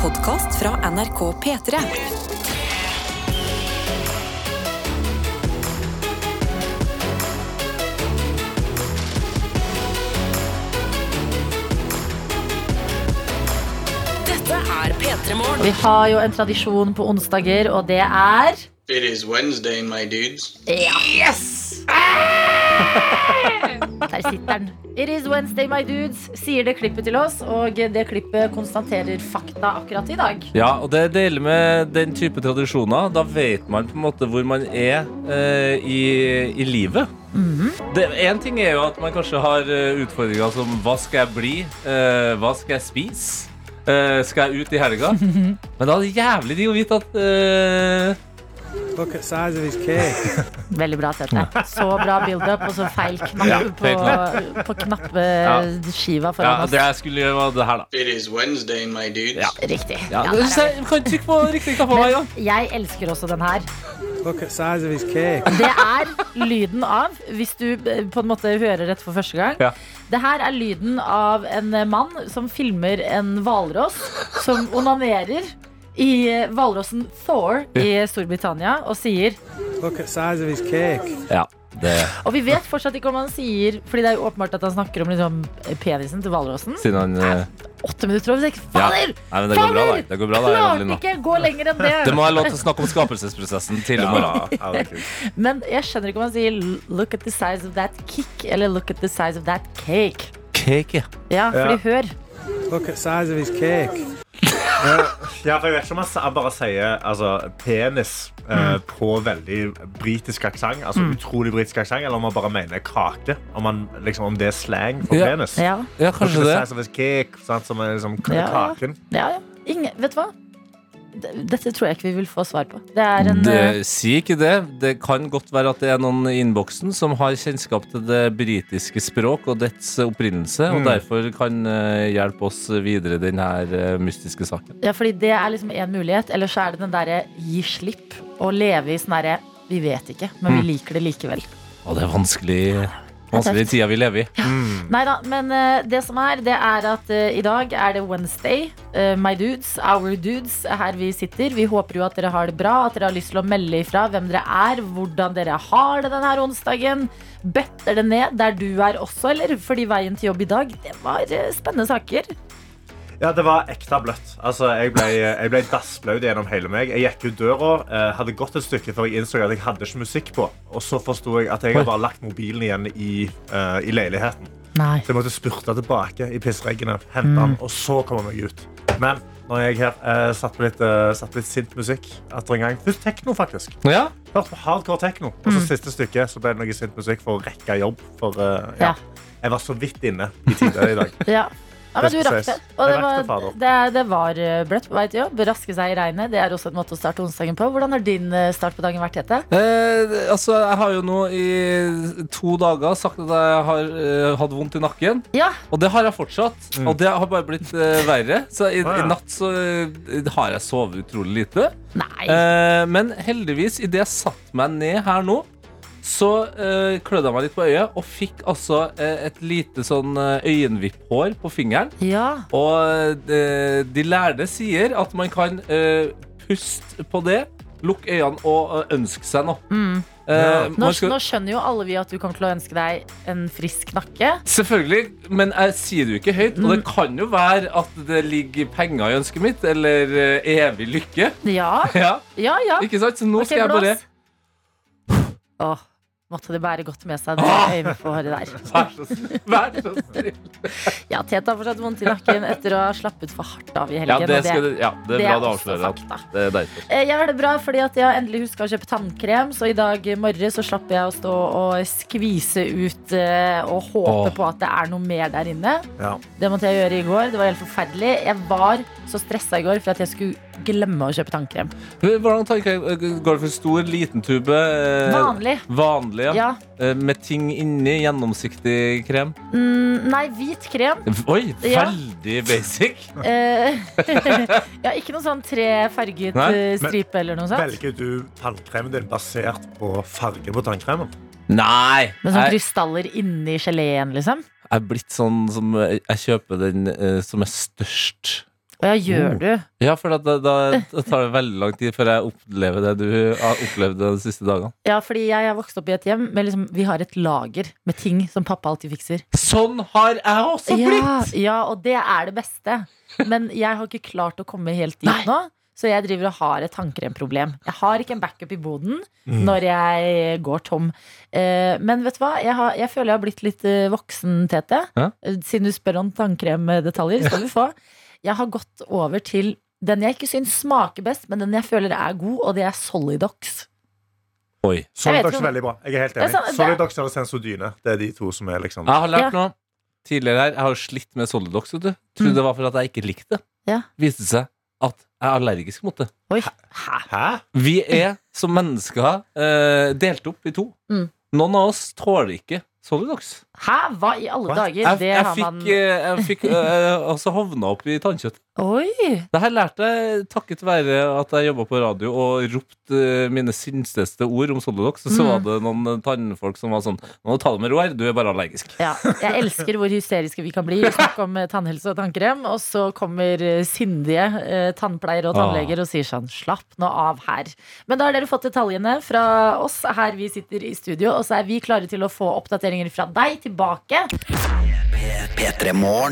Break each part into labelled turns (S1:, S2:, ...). S1: podkast fra NRK P3. Dette er P3 Morgen.
S2: Og vi har jo en tradisjon på onsdager, og det er
S3: It is Wednesday, my dudes.
S2: Yes! Der sitter den. It is Wednesday, my dudes, sier det klippet til oss. Og det klippet konstaterer fakta akkurat i dag.
S4: Ja, og det er deilig med den type tradisjoner. Da vet man på en måte hvor man er eh, i, i livet. Det- En ting er jo at man kanskje har eh, utfordringer som hva skal jeg bli, Eh, hva skal jeg spise, Eh, skal jeg ut i helga? Men da er det jævlig digg å vite at eh,
S5: Look at size of his cake.
S2: Veldig bra, Tete. Så bra build-up, og så feil knapp
S4: Ja,
S2: på,
S4: feil knapp.
S2: på knappeskiva
S4: ja,
S2: foran
S4: Det
S2: oss.
S4: jeg skulle gjøre, var det her, da.
S3: It is Wednesday, my dudes.
S4: Ja.
S2: Riktig.
S4: Ja,
S2: Ja,
S4: det-
S2: der er vi.
S4: jeg kan trykke på riktig knapp på meg, da.
S2: Men jeg elsker også den her.
S5: Look at size of his cake.
S2: Det er lyden av, hvis du eh, på en måte hører dette for første gang
S4: Ja.
S2: Det her er lyden av en eh, mann som filmer en hvalross som onanerer i eh, hvalrossen Thor i Storbritannia og sier
S5: Look at size of his cake.
S4: Ja, det
S2: Og vi vet fortsatt ikke om han sier Fordi det er jo åpenbart at han snakker om liksom, penisen til hvalrossen.
S4: Siden han eh,
S2: Åtte minutter over seks.
S4: ja.
S2: Fader!
S4: Nei, men det går bra, da. Det går bra, da
S2: Klarte
S4: Evelina.
S2: ikke å gå lenger enn det.
S4: Det må være lov til å snakke om skapelsesprosessen til i morgen.
S2: Men jeg skjønner ikke om han sier 'look at the size of that kick' eller 'look at the size of that cake'.
S4: Cake,
S2: Ja,
S4: ja.
S2: fordi hør.
S5: Look at size of his cake.
S6: Ja, for jeg vet ikke om jeg sa- jeg bare sier altså, penis eh,
S4: Mm.
S6: på veldig britisk aksent, altså utrolig britisk aksent, eller om man bare mener kake. Om, man, liksom, om det er slang for
S4: Ja.
S6: penis.
S2: Ja,
S4: ja, kanskje det.
S6: Size of a cake, sant, som er liksom k-
S2: Ja, ja.
S6: kaken.
S2: ja, ja. Ingen, vet du hva? D- Dette tror jeg ikke vi vil få svar på. Det er en eh,
S4: Det, si ikke det. Det kan godt være at det er noen i innboksen som har kjennskap til det britiske språk og dets opprinnelse, og
S6: Mm.
S4: derfor kan eh, hjelpe oss videre i denne mystiske saken.
S2: Ja, fordi det er liksom en mulighet. Eller så er det den derre gi slipp og leve i sånn derre vi vet ikke, men vi liker det likevel.
S4: Og det er vanskelig Vanskelig tida vi lever i.
S2: Nei da, men eh, det som er, det er at eh, i dag er det Wednesday. Eh, my dudes, our dudes, er her vi sitter. Vi håper jo at dere har det bra, at dere har lyst til å melde ifra hvem dere er, hvordan dere har det denne onsdagen. Bøtter det ned der du er også, eller? Fordi veien til jobb i dag, det var eh, spennende saker.
S6: Ja, det var ekte bløtt. Altså, jeg ble, jeg ble dassblaut gjennom hele meg. Jeg gikk ut døra, eh, hadde gått et stykke før jeg innså at jeg hadde ikke musikk på. Og så forsto jeg at jeg hadde bare lagt mobilen igjen i, eh, i leiligheten.
S2: Nei.
S6: Så jeg måtte spurte tilbake i pissreggene, hente han,
S2: Mm.
S6: og så kom han meg ut. Men når jeg her eh, satt på litt, eh, satt på litt sint musikk etter en gang Først tekno, faktisk.
S4: Ja,
S6: Hørte på hardcore tekno. Og
S2: Mm.
S6: så siste stykket så ble det noe sint musikk for å rekke jobb. For eh,
S2: Ja.
S6: ja. Jeg var så vidt inne i tide i dag.
S2: Ja. ja, men du
S6: Rest
S2: rakk
S6: prosess.
S2: det. Og det
S6: Jeg rakk det,
S2: var,
S6: fader.
S2: det, det var eh, bløtt på vei til jobb. Raske seg i regnet. Det er også en måte å starte onsdagen på. Hvordan har din eh, start på dagen vært, Tete?
S4: eh, altså Jeg har jo nå i to dager sagt at jeg har eh, hatt vondt i nakken.
S2: Ja,
S4: Og det har jeg fortsatt. Og det har bare blitt eh, verre. Så i,
S6: Ah, ja.
S4: i natt så eh, har jeg sovet utrolig lite.
S2: nei.
S4: Eh, men heldigvis, idet jeg satte meg ned her nå, så eh, klødde jeg meg litt på øyet og fikk altså eh, et lite sånn eh, øyenvipphår på fingeren.
S2: Ja.
S4: Og eh, de lærde sier at man kan eh, puste på det, lukke øynene og eh, ønske seg noe.
S2: Mm.
S4: Eh,
S2: Nå,
S4: man skal,
S2: nå skjønner jo alle vi at du kommer til å ønske deg en frisk nakke.
S4: selvfølgelig, men jeg sier det jo ikke høyt. Og det
S2: Mm.
S4: kan jo være at det ligger penger i ønsket mitt, eller eh, evig lykke.
S2: Ja,
S4: Ja,
S2: ja, ja.
S4: ikke sant? Så nå
S2: Ok,
S4: skal jeg bare
S2: blås. Åh, måtte det bære godt med seg det
S4: Ah!
S2: øyehåret der.
S4: Vær så snill. Vær så snill.
S2: Ja, Tete har fortsatt vondt i nakken etter å ha slappet for hardt av i helgen.
S4: Ja,
S2: og
S4: det, skal, du- ja, det er bra du
S2: også
S4: avslører at
S2: fakta.
S4: det er derfor.
S2: Eh, Jeg har det bra fordi at jeg har endelig huska å kjøpe tannkrem, så i dag morges så slapp jeg å stå og skvise ut eh, og håpe
S4: Åh.
S2: på at det er noe mer der inne.
S6: Ja.
S2: Det måtte jeg gjøre i går. Det var helt forferdelig. Jeg var så stressa i går for at jeg skulle glemme å kjøpe tannkrem.
S4: Hvordan tanker, Går det for stor, liten tube? eh,
S2: Vanlig.
S4: Vanlig, ja.
S2: Ja.
S4: Eh, Med ting inni, gjennomsiktig krem.
S2: Mm, nei, hvit krem.
S4: Oi,
S2: Ja.
S4: veldig basic.
S2: Eh, ja, ikke noe sånn trefarget
S4: Nei,
S2: eh,
S6: men-
S2: stripe eller noe sånt.
S6: Velger du tannkremen din basert på farge på tannkremen?
S4: Nei!
S2: Med sånne
S4: Jeg,
S2: sånn krystaller inni geleen, liksom.
S4: jeg er blitt sånn som eh, Jeg kjøper den eh, som er størst.
S2: Og ja, gjør du?
S4: Ja, for da, da, da tar det veldig lang tid før jeg opplever det du har opplevd de siste dagene.
S2: Ja, fordi jeg er vokst opp i et hjem med liksom, Vi har et lager med ting som pappa alltid fikser.
S4: Sånn har jeg også blitt!
S2: Ja, ja, og det er det beste. Men jeg har ikke klart å komme helt dit nå. Så jeg driver og har et tannkremproblem. Jeg har ikke en backup i boden når jeg går tom. Eh, men vet du hva? Jeg, har, jeg føler jeg har blitt litt eh, voksen, Tete.
S4: Ja.
S2: Eh, Siden du spør om tannkremdetaljer, skal du få. Jeg har gått over til den jeg ikke syns smaker best, men den jeg føler er god, og det er Solidox.
S4: Oi.
S2: Jeg vet
S6: Solidox
S2: ikke
S6: er
S2: om-
S6: veldig bra. Jeg er helt
S2: Det er
S6: enig.
S2: sant, det-
S6: Solidox eller Sensodyne. Det er de to som er liksom
S4: Jeg har lært
S2: Ja.
S4: noe tidligere her. Jeg har jo slitt med Solidox. vet du. Trodde
S2: Mm.
S4: det var for at jeg ikke likte det.
S2: Ja.
S4: Viste seg at jeg er allergisk mot det.
S2: Oi, hæ?
S6: Hæ?
S4: Vi er som mennesker eh, delt opp i to.
S2: Mm.
S4: Noen av oss tåler ikke Solidox.
S2: Hæ? Hva i alle
S6: What?
S2: dager?
S4: Jeg,
S2: det
S4: jeg
S2: har
S4: fikk,
S2: man
S4: eh, jeg fikk eh, altså havna opp i tannkjøtt.
S2: Oi!
S4: Det her lærte jeg takket være at jeg jobba på radio og ropte eh, mine sinsteste ord om Solidox. Så, så var
S2: Mm.
S4: det noen eh, tannfolk som var sånn Nå ta det med ro her, du er bare allergisk.
S2: Ja, jeg elsker hvor hysteriske vi kan bli. Vi snakker om eh, tannhelse og tannkrem, og så kommer eh, sindige eh, tannpleiere og
S4: Ah.
S2: tannleger og sier sånn Slapp nå av her. Men da har dere fått detaljene fra oss her vi sitter i studio, og så er vi klare til å få oppdateringer fra deg tilbake.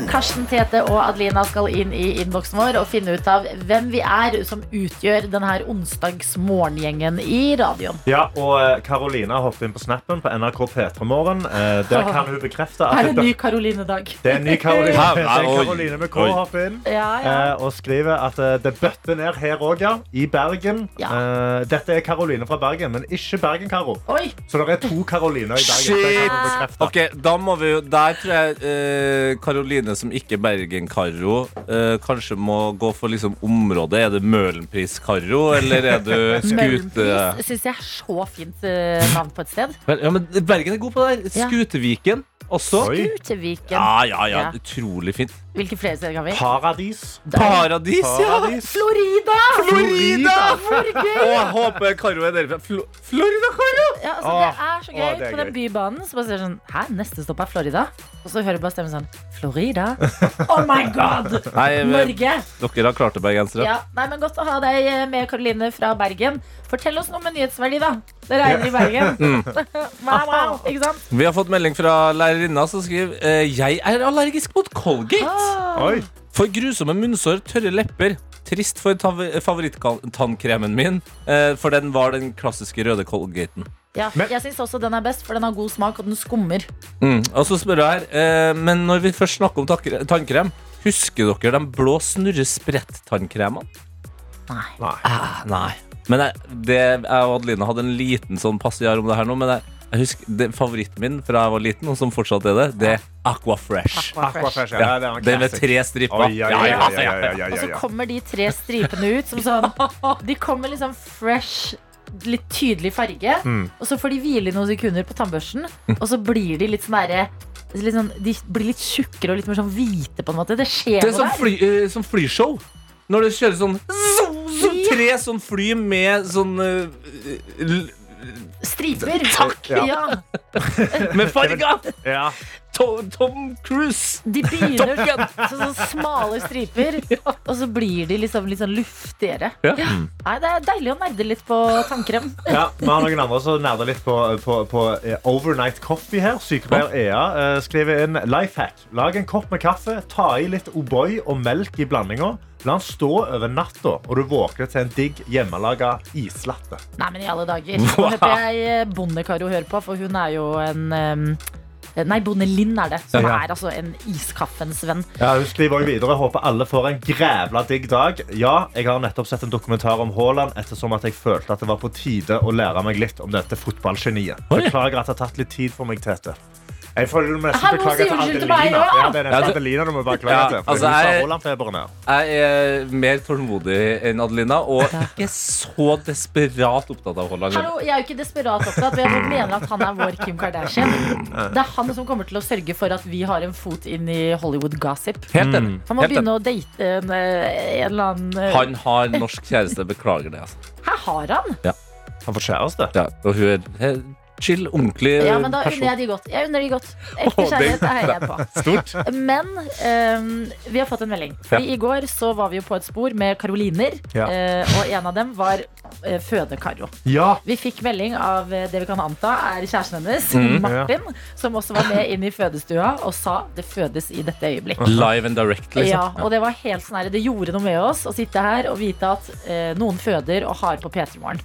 S2: Karsten Tete og Adelina skal inn i innboksen vår og finne ut av hvem vi er som utgjør denne onsdagsmorgengjengen i radioen.
S6: Ja, og eh, Carolina hoppet inn på snappen på NRK P3morgen. Eh, Der kan hun bekrefte at
S2: Er det en ny Karoline-dag?
S6: Det er en ny Karoline.
S4: Hæ?
S6: Det er
S4: Oi.
S6: Karoline med K
S4: Oi.
S6: hopper inn.
S2: Ja, ja.
S6: eh, Og skriver at eh, det bøtter ned her òg, ja. I Bergen.
S2: Ja.
S6: Eh, Dette er Karoline fra Bergen, men ikke Bergen-Karo.
S2: Oi!
S6: Så det er to Karoliner i Bergen. Det kan hun bekrefte.
S4: Ok, da må vi jo Der tror jeg eh, Karoline som ikke er Bergen-Karo eh, Kanskje må gå for liksom området Er det Møhlenpris-Karo Eller er du skute
S6: eh.
S2: Møhlenpris syns jeg er så fint eh, navn på et sted.
S4: Vel, ja, men Bergen er god på det der
S2: Ja.
S4: Skuteviken også
S6: Oi.
S2: Uteviken.
S4: Ja, ja, ja,
S2: Ja.
S4: utrolig fint
S2: Hvilke flere steder kan vi?
S6: Paradis.
S4: Paradis, ja
S6: Paradis.
S2: Florida!
S4: Florida
S2: Hvor gøy!
S4: Å, jeg håper Karo er derfra Flo Florida, Karo
S2: Ja, altså,
S6: Åh,
S2: det er så
S6: åh,
S2: gøy
S6: det er
S2: på den
S6: gøy.
S2: bybanen. Så bare ser du sånn Hæ, neste stopp er Florida? Og så hører du bare stemmen sånn Florida? Oh my god!
S4: Nei, men,
S2: Norge!
S4: dere har klart det, bergensere
S2: Ja, nei, men Godt å ha deg eh, med, Karoline fra Bergen. Fortell oss noe om nyhetsverdi, da. Det regner i
S6: Mm.
S2: Bergen. Wow, wow, ikke sant?
S4: Vi har fått melding fra lærerinna som skriver eh, Jeg er allergisk mot Colgate
S2: Åh.
S6: Oi.
S4: For grusomme munnsår, tørre lepper. Trist for tav- favorittannkremen min, eh, for den var den klassiske røde Colgaten.
S2: Ja,
S6: Men-
S2: jeg syns også den er best, for den har god smak, og den skummer.
S4: Mm. Og så spør jeg her, eh, men når vi først snakker om takkre- tannkrem, husker dere de blå snurresprett-tannkremene?
S6: Nei.
S4: Ah, nei. Men jeg, det, jeg og Adeline hadde en liten sånn passiar om det her nå, men jeg, jeg husker det, favoritten min fra jeg var liten, og som fortsatt er det, det er Aqua Fresh.
S6: Aquafresh. Ja,
S4: Ja,
S6: det er en
S4: den med
S6: classic.
S4: tre stripper.
S6: Oi, ja, ja, ja, ja, ja, ja,
S2: Og
S6: ja,
S2: så
S6: ja.
S2: kommer de tre stripene ut som sånn De kommer liksom fresh Litt tydelig farge Og så får de hvile i noen sekunder på tannbørsten Og så blir de litt sånn derre litt sånn, De blir litt tjukkere og litt mer sånn hvite på en måte Det skjer
S4: Det er
S2: noe
S4: som,
S2: der
S4: fly, eh, som flyshow. Når det kjører sånn zoom, zoom, Tre sånn fly med sånn eh, l-
S2: Striper
S6: Ja.
S2: ja.
S4: Med farger!
S6: Ja.
S4: Tom, Tom Cruise!
S2: De begynner sånn, sånn smale striper Og så blir de liksom litt sånn luftigere
S4: Ja.
S2: Nei, det er deilig å nerde litt på tannkrem
S6: Ja, Vi har noen andre som nerder litt på, på, på eh, Overnight Coffee her. Sykepleier Ea eh, skriver inn life hack. Lag en kopp med kaffe, ta i litt O'boy og melk i blandinga. La den stå over natta, og du våkner til en digg hjemmelaga islatte.
S2: Nei, men i alle dager. Nå håper jeg eh, Bondekaro hører på, for hun er jo en em, eh, Nei, Bonde Linn er det, som
S6: Ja.
S2: er altså en iskaffens venn.
S6: Ja, hun skriver også videre Håper alle får en grævla digg dag. Ja, jeg har nettopp sett en dokumentar om Haaland ettersom at jeg følte at det var på tide å lære meg litt om dette fotballgeniet.
S4: Oi.
S6: Beklager at det har tatt litt tid for meg, Tete. Jeg føler du må nesten
S2: Hallo,
S6: beklage
S2: sier
S6: til
S2: unnskyld til
S6: Adelina.
S2: meg, ja.
S6: Ja, det er
S4: Ja,
S6: nesten
S4: det-
S6: Adelina du må beklage
S4: Ja,
S6: til. For
S4: altså,
S6: hun
S4: jeg-
S6: sa Haaland-feberen her.
S4: Jeg er mer tålmodig enn Adelina og ikke så desperat opptatt av Holland.
S2: Hallo, Jeg er jo ikke desperat opptatt, og jeg mener at han er vår Kim Kardashian. Det er han som kommer til å sørge for at vi har en fot inn i Hollywood-gossip.
S4: Helt enig.
S2: Han må
S4: Helt enig.
S2: begynne å date en, eh, en eller annen eh,
S4: Han har norsk kjæreste. Beklager det. Altså.
S2: Her har han!
S6: Han får kjæreste.
S4: Ja, og hun er he- chill, ordentlig eh,
S2: Ja, men da unner
S4: person.
S2: jeg de godt. Jeg unner de godt. Ekte
S4: Å, det-
S2: kjærlighet det heier jeg på.
S4: Stort.
S2: Men ehm, vi har fått en melding. Fordi I går så var vi jo på et spor med karoliner,
S6: Ja.
S2: eh, og en av dem var eh, fødekaro.
S6: Ja.
S2: Vi fikk melding av eh, det vi kan anta er kjæresten hennes,
S4: Mm,
S2: Martin, som også var med inn i fødestua og sa 'det fødes i dette øyeblikk'.
S4: Live and direct,
S2: Ja,
S4: liksom.
S2: og det var helt sånn her, det gjorde noe med oss å sitte her og vite at eh, noen føder og har på P3 Morgen.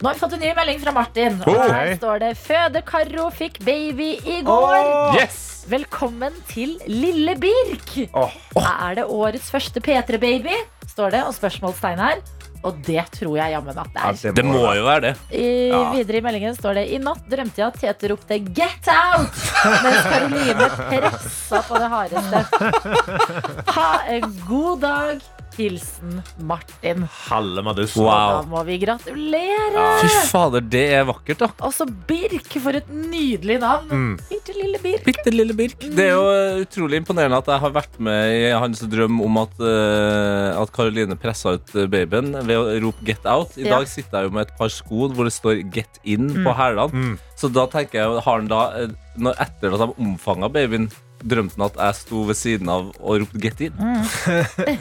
S2: Nå har vi fått en ny melding fra Martin. Og
S6: Oh.
S2: her står det 'Føde-Karo fikk baby i går'.
S4: Yes!
S2: Velkommen til Lille Birk.
S6: Åh.
S2: Er det årets første P3-baby? Står det, og spørsmålstegn her. Og det tror jeg jammen at det er.
S4: Det må jo være det.
S2: I, Videre i meldingen står det I natt drømte jeg at Tete ropte 'Get out!' mens Karoline pressa på det hardeste. Ha en god dag. Hilsen Martin.
S6: Halve Madus.
S2: Da
S4: Wow.
S2: må vi gratulere.
S4: Fy fader, det er vakkert, da.
S2: Også Birk, for et nydelig navn.
S4: Mm.
S2: Bitte lille Birk.
S4: Bitte lille Birk. Det er jo eh, utrolig imponerende at jeg har vært med i hans drøm om at, eh, at Caroline pressa ut eh, babyen ved å rope 'get out'. I
S2: Ja.
S4: dag sitter jeg jo med et par sko hvor det står 'get in' på hælene. Så da tenker jeg, jo, har han da eh, når- Etter at de omfanga babyen, drømte han at jeg sto ved siden av og ropte 'get in'?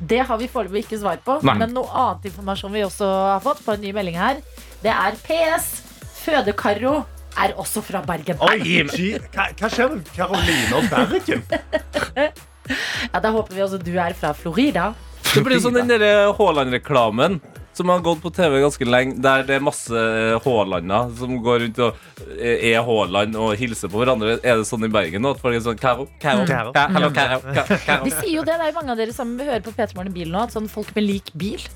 S2: Det har vi foreløpig ikke svar på.
S4: Nei.
S2: Men noe annet informasjon vi også har fått, på en ny melding her, det er PS. Fødekaro er også fra Bergen.
S6: Oi, gee, hva, hva skjer med Karoline og Bergen?
S2: Ja, Da håper vi også du er fra Florida.
S4: Det blir jo sånn den derre Haaland-reklamen. Som har gått på TV ganske lenge, der det er masse eh, Haalander som går rundt og eh, er Haaland og hilser på hverandre. Er det sånn i Bergen nå? At folk er sånn Karo, Karo,
S6: Karo.
S4: Karo, Mm. Karo, Karo, Karo.
S2: De sier jo det, det er jo mange av dere som hører på P3 Morgen i bilen nå, at sånn folk med lik bil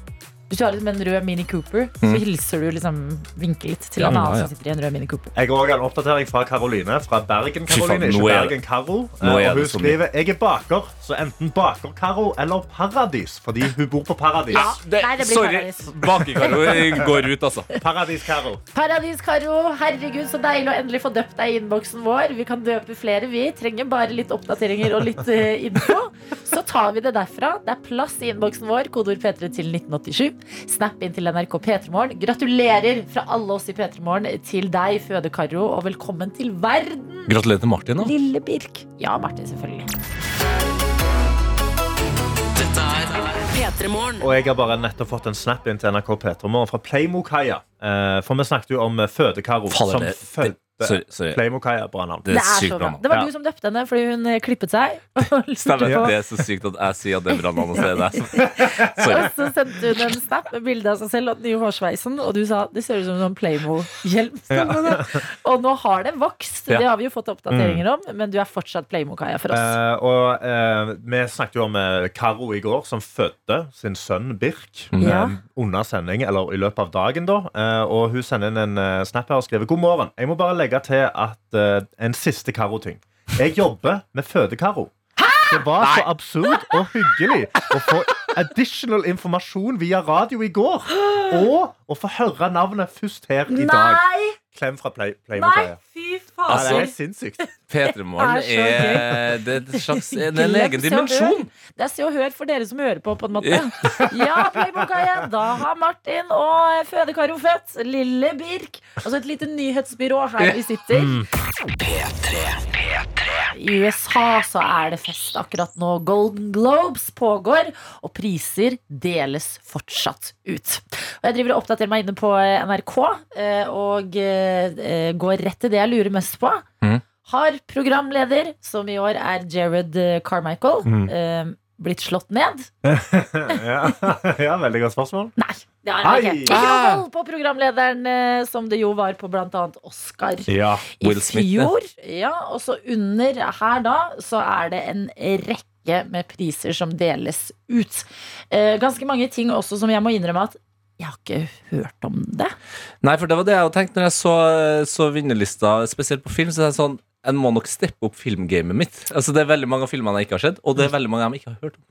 S2: Hvis du har liksom en rød Mini Cooper, så hilser du liksom vinker litt til
S4: Mm. Ja,
S2: en
S4: ja,
S2: annen
S4: ja.
S2: som sitter i en rød Mini Cooper.
S6: Jeg har også en oppdatering fra Karoline. Fra Bergen,
S4: Fy faen,
S6: Karoline,
S4: nå
S6: ikke
S4: er det-
S6: Bergen Karo.
S4: nå er
S6: Eh, Og hun
S4: det så mye.
S6: skriver jeg er baker, så enten baker Karo eller Paradis. Fordi hun bor på Paradis.
S2: Ja.
S4: Det,
S2: Nei, det blir
S4: sorry,
S2: Paradis.
S4: Bakekaro går ut, altså.
S6: Paradis Karo.
S2: Paradis, Karo. Herregud, så deilig å endelig få døpt deg i innboksen vår. Vi kan døpe flere, vi. Trenger bare litt oppdateringer og litt eh, info. Så tar vi det derfra. Det er plass i innboksen vår. Kodeord P3 til 1987. Snap inn til NRK P3morgen. Gratulerer fra alle oss i P3morgen til deg, Føde-Karo, og velkommen til verden,
S4: Gratulerer til Martin. da.
S2: lille Birk. Ja, Martin, selvfølgelig.
S1: P3morgen.
S6: Og jeg har bare nettopp fått en snap inn til NRK Petromorgen fra Playmokaia. Eh, For vi snakket jo om eh, Føde-Karo
S4: Faller
S6: som
S4: det-
S6: fødte
S4: det- sorry, sorry.
S6: Playmokaia. Bra navn.
S4: Det
S2: Det
S4: er
S2: er
S4: sykt
S2: så
S4: bra.
S2: bra.
S4: navn.
S2: Det var
S6: Ja.
S2: du som døpte henne fordi hun eh, klippet seg. og lurte
S4: Stemmer.
S2: på-
S4: Det er så sykt at jeg sier at det er bra navn, og så er det jeg som- Sorry.
S2: Og så sendte hun en snap med bilde av seg selv og den nye hårsveisen, og du sa det ser ut som en sånn Playmo-hjelm. Og nå har det vokst, det
S4: Ja. Mm.
S2: har vi jo fått oppdateringer om, men du er fortsatt Playmo-kaia for oss.
S6: Eh, og eh, vi snakket jo om eh, Karo i går, som fødte sin sønn Birk
S2: Ja.
S6: eh, under sending, eller i løpet av dagen, da. Eh, og hun sender inn en eh, snap her og skriver God morgen. Jeg må bare legge til at eh, en siste Karo-ting. Jeg jobber med fødekaro. Det var så absurd og hyggelig å få additional informasjon via radio i går. Og å få høre navnet først her i dag.
S2: Nei!
S6: Klem fra Play
S2: Nei, Altså.
S6: Playmobil.
S2: fy
S6: Ja, det
S4: Altså,
S2: fader.
S6: er helt sinnssykt.
S4: P3morgen
S2: Det er så
S4: er Det er et slags det er en
S2: Glem
S4: egen
S2: Se og Hør.
S4: dimensjon.
S2: Det er Se og Hør for dere som hører på, på en måte. Ja, Playboy-kaia. Da har Martin og Fødekaro født. Lille Birk. Altså et lite nyhetsbyrå her vi sitter.
S4: Mm.
S2: I USA så er det fest akkurat nå. Golden Globes pågår, og priser deles fortsatt ut. Og jeg driver og oppdaterer meg inne på eh, NRK, eh, og eh, går rett til det jeg lurer mest på har programleder, som i år er Jared eh, Carmichael, eh, blitt slått ned?
S6: ja, ja, veldig godt spørsmål.
S2: Nei, det
S4: Ah,
S2: har han
S6: Ai!
S2: ikke. Ikke noe hold på programlederen, eh, som det jo var på bl.a. Oscar.
S6: Ja.
S2: I
S4: Will Smith, det.
S2: fjor, ja, og så under her da, så er det en rekke med priser som deles ut. Eh, ganske mange ting også som jeg må innrømme at jeg har ikke hørt om det.
S4: Nei, for det var det jeg hadde tenkt når jeg så, eh, så vinnerlista, spesielt på film. Så er det Mm. sånn, En må nok steppe opp filmgamet mitt. Altså Det er veldig mange av filmene jeg ikke har sett, og det er veldig mange av dem jeg ikke har hørt om.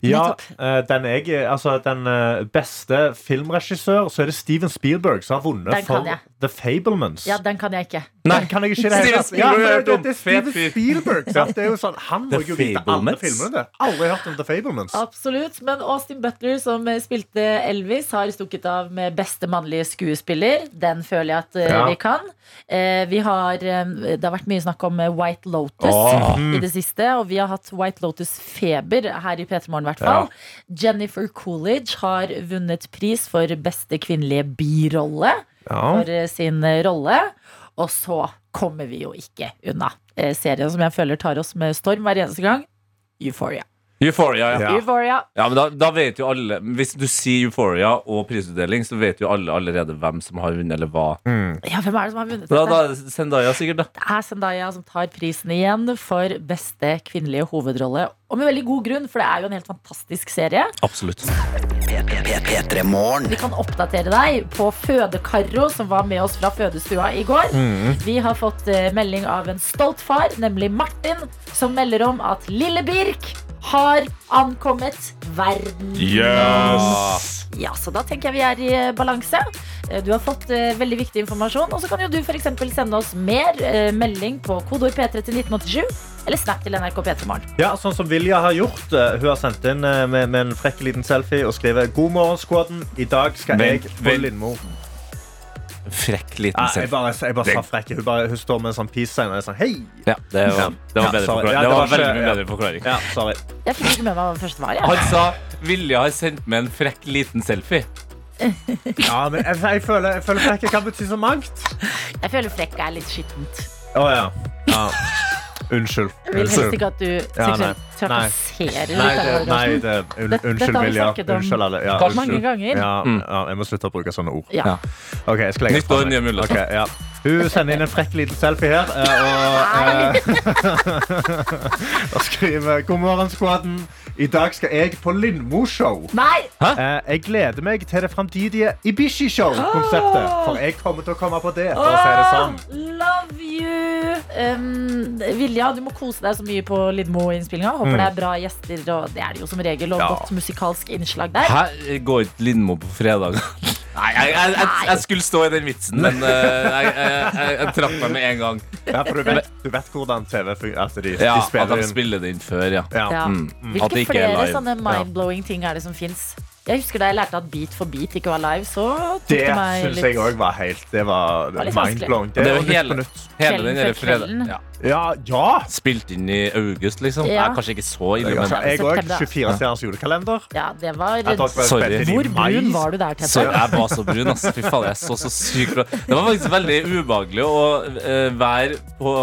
S6: Ja, eh, den, jeg, altså, den eh, beste filmregissør, så er det Steven Spielberg, som har
S2: Den
S6: vunnet
S2: kan
S6: for
S2: jeg.
S6: The Fablemans.
S2: Ja, den kan jeg ikke.
S4: Nei.
S6: Den kan jeg ikke i det hele
S4: Steven
S6: tatt.
S4: Spielberg har
S6: men
S4: jeg hørt
S6: det-
S4: om.
S6: det er Steven
S4: Fet fyr.
S6: Spielberg. sant? Det er jo sånn, han
S4: The
S6: må jo vite alle
S4: Fablemans.
S6: filmene. Alle har hørt om The Fablemans.
S2: Absolutt. Men Austin Butler, som eh, spilte Elvis, har stukket av med beste mannlige skuespiller. Den føler jeg at eh,
S6: Ja.
S2: vi kan. Eh, vi har, eh, det har vært mye snakk om eh, White Lotus i det siste. Og vi har hatt White Lotus-feber her i P3 Morgen, i hvert fall. Jennifer Coolidge har vunnet pris for beste kvinnelige birolle
S6: Ja.
S2: for eh, sin eh, rolle. Og så kommer vi jo ikke unna eh, serien som jeg føler tar oss med storm hver eneste gang. Euphoria.
S4: Euphoria, ja.
S6: Ja.
S2: Euphoria.
S4: ja men da, da vet jo alle Hvis du sier Euphoria og prisutdeling, så vet jo alle allerede hvem som har vunnet, eller hva.
S2: Ja, hvem er det som har vunnet
S4: Da, da
S2: dette?
S4: er det Zendaya sikkert, da.
S2: Det er Zendaya som tar prisen igjen for beste kvinnelige hovedrolle. Og med veldig god grunn, for det er jo en helt fantastisk serie.
S4: Absolutt.
S2: Vi kan oppdatere deg på Fødekaro, som var med oss fra fødestua i går. Vi har fått eh, melding av en stolt far, nemlig Martin, som melder om at lille Birk har ankommet verden. Ja, så da tenker jeg vi er i eh, balanse. Eh, Du har fått eh, veldig viktig informasjon, og så kan jo du f.eks. sende oss mer eh, melding på kodeord P3 til 1987, eller snap til NRK P3 Morgen.
S6: Ja, sånn som Vilja har gjort. eh, Hun har sendt inn eh, med, med en frekk liten selfie og skriver God morgen, skåden. I dag skal
S4: Vent,
S6: jeg på
S4: vent.
S6: Lindmo.
S4: Frekk
S6: Ja,
S4: liten
S6: jeg
S4: selfie.
S6: bare, jeg bare sa frekk. Hun, bare, hun står med en sånn peace sign og er sånn hei.
S4: Ja, det var, det var,
S6: Ja,
S4: bedre
S6: sorry.
S4: forklaring.
S6: Ja,
S4: det
S6: det
S4: var
S6: var
S4: veldig
S6: ikke-
S4: mye
S6: ja.
S4: bedre forklaring.
S6: Ja, sorry.
S2: Jeg fikk ikke med meg hva det første var. Jeg.
S4: Han sa Vilja har sendt meg en frekk liten selfie.
S6: Ja, men jeg, jeg føler, jeg føler frekke kan bety så mangt.
S2: jeg føler frekk er litt skittent.
S6: Å ja. ja. Unnskyld.
S2: Jeg vil helst
S6: Unnskyld.
S2: ikke at du
S6: Ja, nei.
S2: seksuelt trakasserer
S6: Nei, det,
S2: dette,
S6: nei
S2: Karsten.
S6: det, un,
S2: Dette- dette
S6: unnskyld,
S2: har vi
S6: Vilja.
S2: snakket om
S6: Unnskyld alle. Ja,
S2: godt
S6: unnskyld.
S2: mange ganger. Mm.
S6: Ja, ja, jeg må slutte å bruke sånne ord.
S2: Ja.
S6: Ok, jeg skal legge
S4: Nytt år,
S6: fra meg.
S4: nye muligheter.
S6: Ok, ja. Hun sender inn en frekk liten selfie her. eh, Og, eh, og skriver God morgen, skvaden. I dag skal jeg på Lindmo-show.
S2: Nei!
S6: Eh, Jeg gleder meg til det framtidige Ibishi-show-konseptet. For jeg kommer til å komme på det. For å si det sånn.
S2: Love you! Um, Vilja, du må kose deg så mye på Lindmo-innspillinga. Håper det er bra gjester, og det er det jo som regel, og
S6: Mm. Ja.
S2: godt musikalsk innslag der.
S4: Hæ? Går ikke Lindmo på fredag? Nei, jeg, jeg, jeg, jeg skulle stå i den vitsen, men eh, jeg, jeg, jeg, jeg trakk meg med en gang.
S6: Ja, for du vet, du vet hvordan TV fungerer. Altså, de,
S4: Ja,
S6: de
S4: At
S6: spiller
S4: de
S6: inn.
S4: spiller det inn før, ja.
S6: Ja.
S2: Ja.
S4: At det
S2: Hvilke
S4: ikke er
S2: flere
S4: live.
S2: sånne mind-blowing ting er det som fins? Jeg husker da jeg lærte at Beat for beat ikke var live, så tok
S6: Det
S2: det meg
S6: syns jeg
S2: litt
S6: òg var helt Det var,
S2: var litt
S6: mind-blowing.
S4: Det er
S6: var
S4: jo
S6: nytt på
S4: hele,
S6: nytt.
S4: hele den
S2: Kvelden
S4: der
S2: før
S4: fredag
S2: kvelden.
S4: ja.
S6: Ja, ja!
S4: Spilt inn i august, liksom.
S2: Ja.
S4: Jeg er kanskje ikke så ille, men
S6: Altså, jeg òg.
S2: September.
S6: 24-stjerners julekalender.
S2: Ja, det var
S6: Jeg tror ikke det
S4: Sorry.
S6: var spilt inn i
S2: Hvor
S6: mai.
S2: brun var du der,
S4: så
S2: Tete?
S4: jeg var så brun, ass. Fy faen, jeg så så sykt bra. Det var faktisk veldig ubehagelig å eh, være på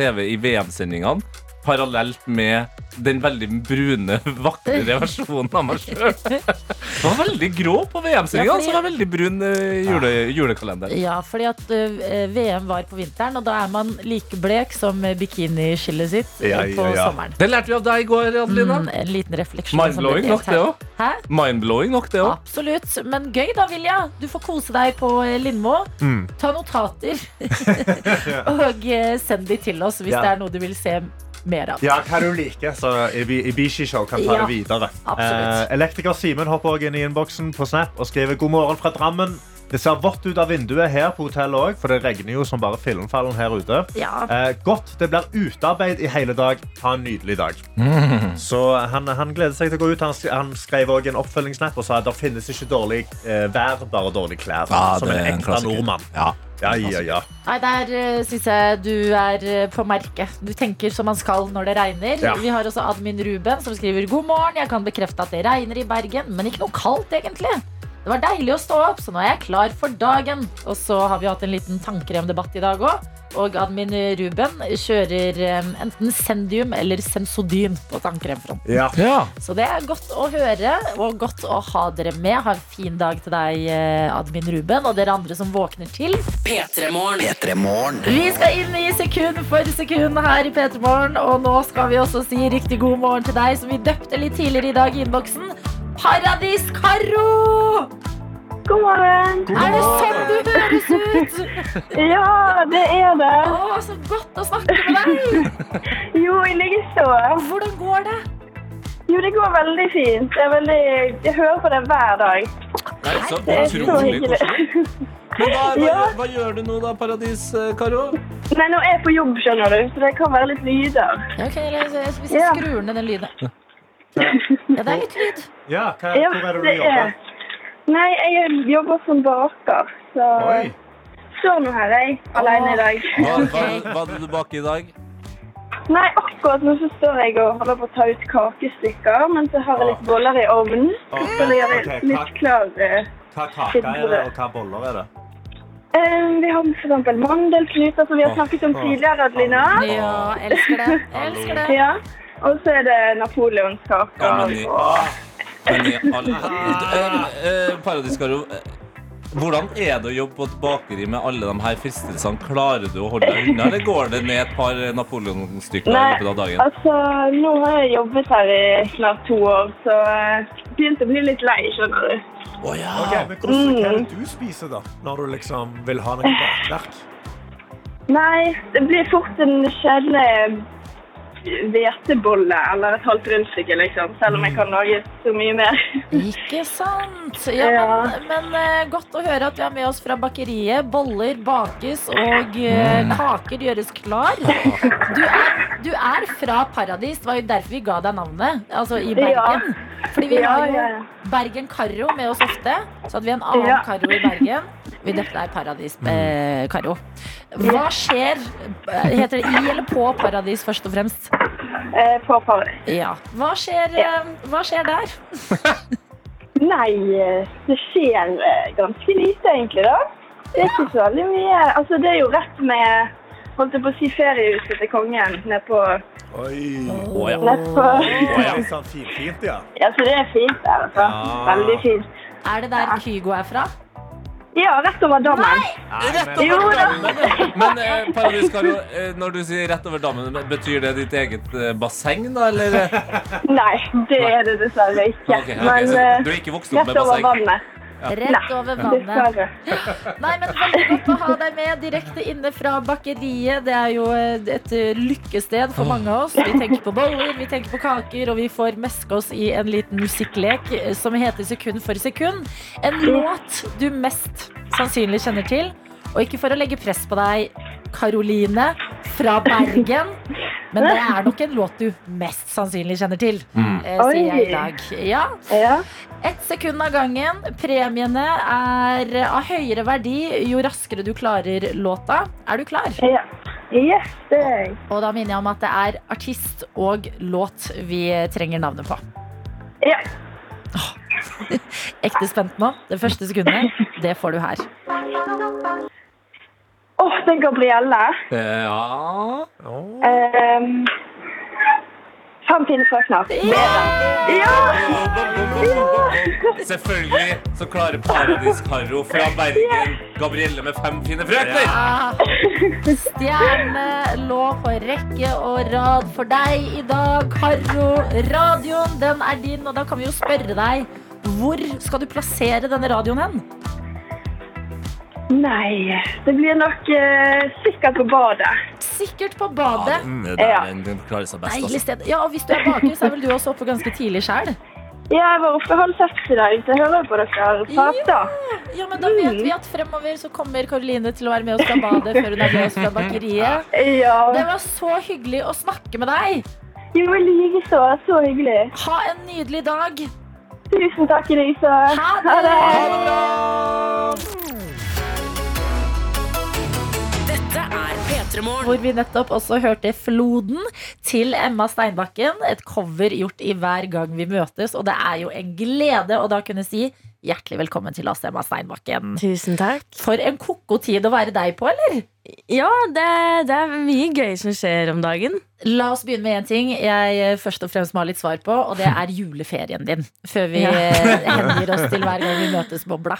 S4: TV i VM-sendingene parallelt med den veldig brune, vakre versjonen av meg sjøl. Var veldig grå på VM-sendingene, så var veldig brun eh, jule, julekalender.
S2: Ja, fordi at ø, ø, VM var på vinteren, og da er man like blek som bikiniskillet sitt ø,
S6: Ja, ja,
S2: på
S6: ja.
S2: sommeren.
S4: Det lærte vi av deg i går, Adelina.
S2: Mm, en liten refleksjon. som ble
S4: Mindblowing
S2: delt
S4: nok, det
S2: her.
S4: òg.
S2: Hæ?
S4: Mindblowing nok, det òg.
S2: Absolutt. Men gøy da, Vilja. Du får kose deg på eh, Lindmo.
S6: Mm.
S2: Ta notater. og eh, send de til oss hvis
S6: Ja.
S2: det er noe du vil se mer av.
S6: Ja, hva du liker. Så Ibi- Ibishi-show kan ta
S2: Ja,
S6: det videre.
S2: absolutt.
S6: Eh, elektriker Simen hopper også inn i innboksen på Snap og skriver god morgen fra Drammen. Det ser vått ut av vinduet her på hotellet òg, for det regner jo som bare filmfallen her ute.
S2: Ja.
S6: Eh, godt. Det blir utearbeid i hele dag. Ha en nydelig dag. Så han, han gleder seg til å gå ut. Han, sk- han skrev også en oppfølgingssnap og sa at det finnes ikke dårlig eh, vær, bare dårlig klær. som en ekte nordmann.
S4: Ja.
S6: Ja, ja, ja.
S2: Nei, der uh, syns jeg du er eh, på merket. Du tenker som man skal når det regner.
S6: Ja.
S2: Vi har også admin Ruben som skriver god morgen. Jeg kan bekrefte at det regner i Bergen, men ikke noe kaldt egentlig. Det var deilig å stå opp, så nå er jeg klar for dagen. Og så har vi hatt en liten tannkremdebatt i dag òg. Og admin Ruben kjører eh, enten Sendium eller Sensodyn på tannkremfronten.
S6: ja.
S4: ja.
S2: Så det er godt å høre og godt å ha dere med. Ha en fin dag til deg, eh, admin Ruben, og dere andre som våkner til.
S1: P3-morgen.
S2: Vi skal inn i sekund for sekund her i P3 Morgen, og nå skal vi også si riktig god morgen til deg, som vi døpte litt tidligere i dag i innboksen. Paradis Karo!
S7: God morgen.
S2: Er det sånn du høres ut?
S7: Ja, det er
S2: Å,
S7: det.
S2: så godt å snakke med deg!
S7: Jo, i like så.
S2: Hvordan går det?
S8: Jo, det går veldig fint. Det er veldig, jeg hører på det hver dag.
S4: Nei, så
S8: Det er så
S4: utrolig
S8: hyggelig.
S4: koselig. Men hva, hva,
S8: Ja.
S4: hva gjør du nå da, Paradis, eh, Karo?
S8: Nei, nå er jeg på jobb, skjønner du, så det kan være litt lyder.
S2: Ja, ok, eller så- Hvis
S8: Ja.
S2: jeg skrur ned den lyden Ja, det er litt lyd.
S6: Ja, hva,
S8: Ja,
S6: hvor er det du
S8: det
S6: jobber?
S8: er. Nei, jeg jobber som baker, så
S6: Oi.
S8: står nå her jeg, alene i dag.
S4: Hva, hva, hva hadde du bak i dag?
S8: Nei, akkurat nå så står jeg og holder på å ta ut kakestykker, men så har jeg litt boller i ovnen.
S6: Ok,
S8: Så gjør
S6: ok,
S8: jeg litt
S6: hva-
S8: klar. eh,
S6: Hva kaker er det, og hva boller er det?
S8: Eh, vi har for eksempel mandelknuter, som vi har snakket om tidligere, Adelina.
S2: Ja, elsker det. Elsker det.
S8: Ja. Og så er det napoleonskaker.
S4: Ja, men i-
S8: og-
S4: men i all- Eh, eh, Paradis, Karo. eh, Hvordan er det å jobbe på et bakeri med alle de her fristelsene? Klarer du å holde deg unna, eller går det ned et par Napoleon-stykker i
S8: Nei,
S4: løpet av dagen?
S8: altså, nå har jeg jobbet her i snart to år, så eh, begynte å bli litt lei, skjønner du.
S4: Å ja.
S6: Ok, men hvordan, Hva er det du spiser, da? Når du liksom vil ha noe bakverk?
S8: Nei, det blir fort en sjelden hvetebolle eller et halvt rundstykke, liksom. Selv om
S4: Mm.
S8: jeg kan lage så mye mer.
S2: Ikke sant? Ja, men, men eh, godt å høre at vi har med oss fra bakeriet. Boller bakes, og eh, kaker gjøres klar. Du er, du er fra Paradis. Det var jo derfor vi ga deg navnet. Altså i Bergen. Fordi vi
S8: Ja,
S2: har jo
S8: ja, ja.
S2: Bergen Karo med oss ofte. Så hadde vi en annen
S8: Ja.
S2: Karo i Bergen. Vi døpte deg Paradis eh, Karo. Hva skjer? eh, Heter det i eller på Paradis, først og fremst?
S8: Eh, på Paris.
S2: Ja. Hva skjer, eh, hva skjer der?
S8: Nei, eh, det skjer eh, ganske lite, egentlig, da. Det er ikke så veldig mye. Altså, det er jo rett med Holdt jeg på å si feriehuset til kongen nede på,
S6: Oi.
S4: Å ja.
S8: ned på
S6: Og er det sånn finfint, ja?
S8: Ja, så det er fint der, altså.
S6: Ja.
S8: Veldig fint.
S2: Er det der Kygo er fra?
S8: Ja, rett over dammen.
S6: Rett
S8: Jo da.
S4: Men eh, Paradis, Karo, eh, når du sier rett over dammen, betyr det ditt eget eh, basseng, da, eller?
S8: Nei, det er det dessverre ikke.
S4: Ok, ok,
S8: Men
S4: så
S8: eh,
S4: du er ikke vokst opp
S8: rett
S4: med
S8: over
S4: basseng?
S8: vannet.
S2: Rett over vannet.
S8: Dessverre.
S2: Nei, men Veldig godt å ha deg med direkte inne fra bakeriet. Det er jo eh, et lykkested for mange av oss. Vi tenker på boller, vi tenker på kaker, og vi får meske oss i en liten musikklek eh, som heter Sekund for sekund. En låt du mest sannsynlig kjenner til. Og ikke for å legge press på deg, Karoline fra Bergen, men det er nok en låt du mest sannsynlig kjenner til,
S4: Mm.
S2: eh, sier jeg
S8: Oi.
S2: i dag. Ja,
S8: Ja.
S2: Ett sekund av gangen. Premiene er av høyere verdi jo raskere du klarer låta. Er du klar?
S8: Ja. Yes, det er jeg.
S2: Og da minner jeg om at det er artist og låt vi trenger navnet på.
S8: Ja.
S2: Ekte spent nå. Det første sekundet, det får du her.
S8: Åh, det er Gabrielle.
S4: Eh, Ja
S8: Ehm, fem timer før snart.
S4: Selvfølgelig så klarer Paradis Karo fra Bergen Gabrielle med fem fine frøkner.
S2: Ah, Stjerne lå på rekke og rad for deg i dag, Karo. Radioen, den er din, og da kan vi jo spørre deg hvor skal du plassere denne radioen hen?
S8: Nei, det blir nok eh, sikkert på badet.
S2: Sikkert på badet.
S4: det
S8: Ja.
S4: den, den klarer seg best.
S2: Deilig
S4: Altså.
S2: sted. Ja, og hvis du er baker, så er vel du også oppe ganske tidlig sjøl?
S8: Ja, jeg var oppe halv seks i dag, så jeg hører på dere prate.
S2: Ja, men da vet vi at fremover så kommer Karoline til å være med oss fra badet før hun er med oss fra bakeriet. Det
S8: Ja.
S2: var så hyggelig å snakke med deg.
S8: Jo, i like så. Så hyggelig.
S2: Ha en nydelig dag.
S8: Tusen takk, Elise.
S2: Ha det!
S9: Dette er P3 Morgen.
S2: Hvor vi nettopp også hørte Floden til Emma Steinbakken. Et cover gjort i Hver gang vi møtes, og det er jo en glede å da kunne si hjertelig velkommen til oss, Emma Steinbakken.
S1: Tusen takk.
S2: For en koko tid å være deg på, eller?
S1: Ja, det, det er mye gøy som skjer om dagen.
S2: La oss begynne med én ting jeg eh, først og fremst må ha litt svar på, og det er juleferien din. Før vi
S1: Ja.
S2: eh, hengir oss til hver gang vi møtes, bobla.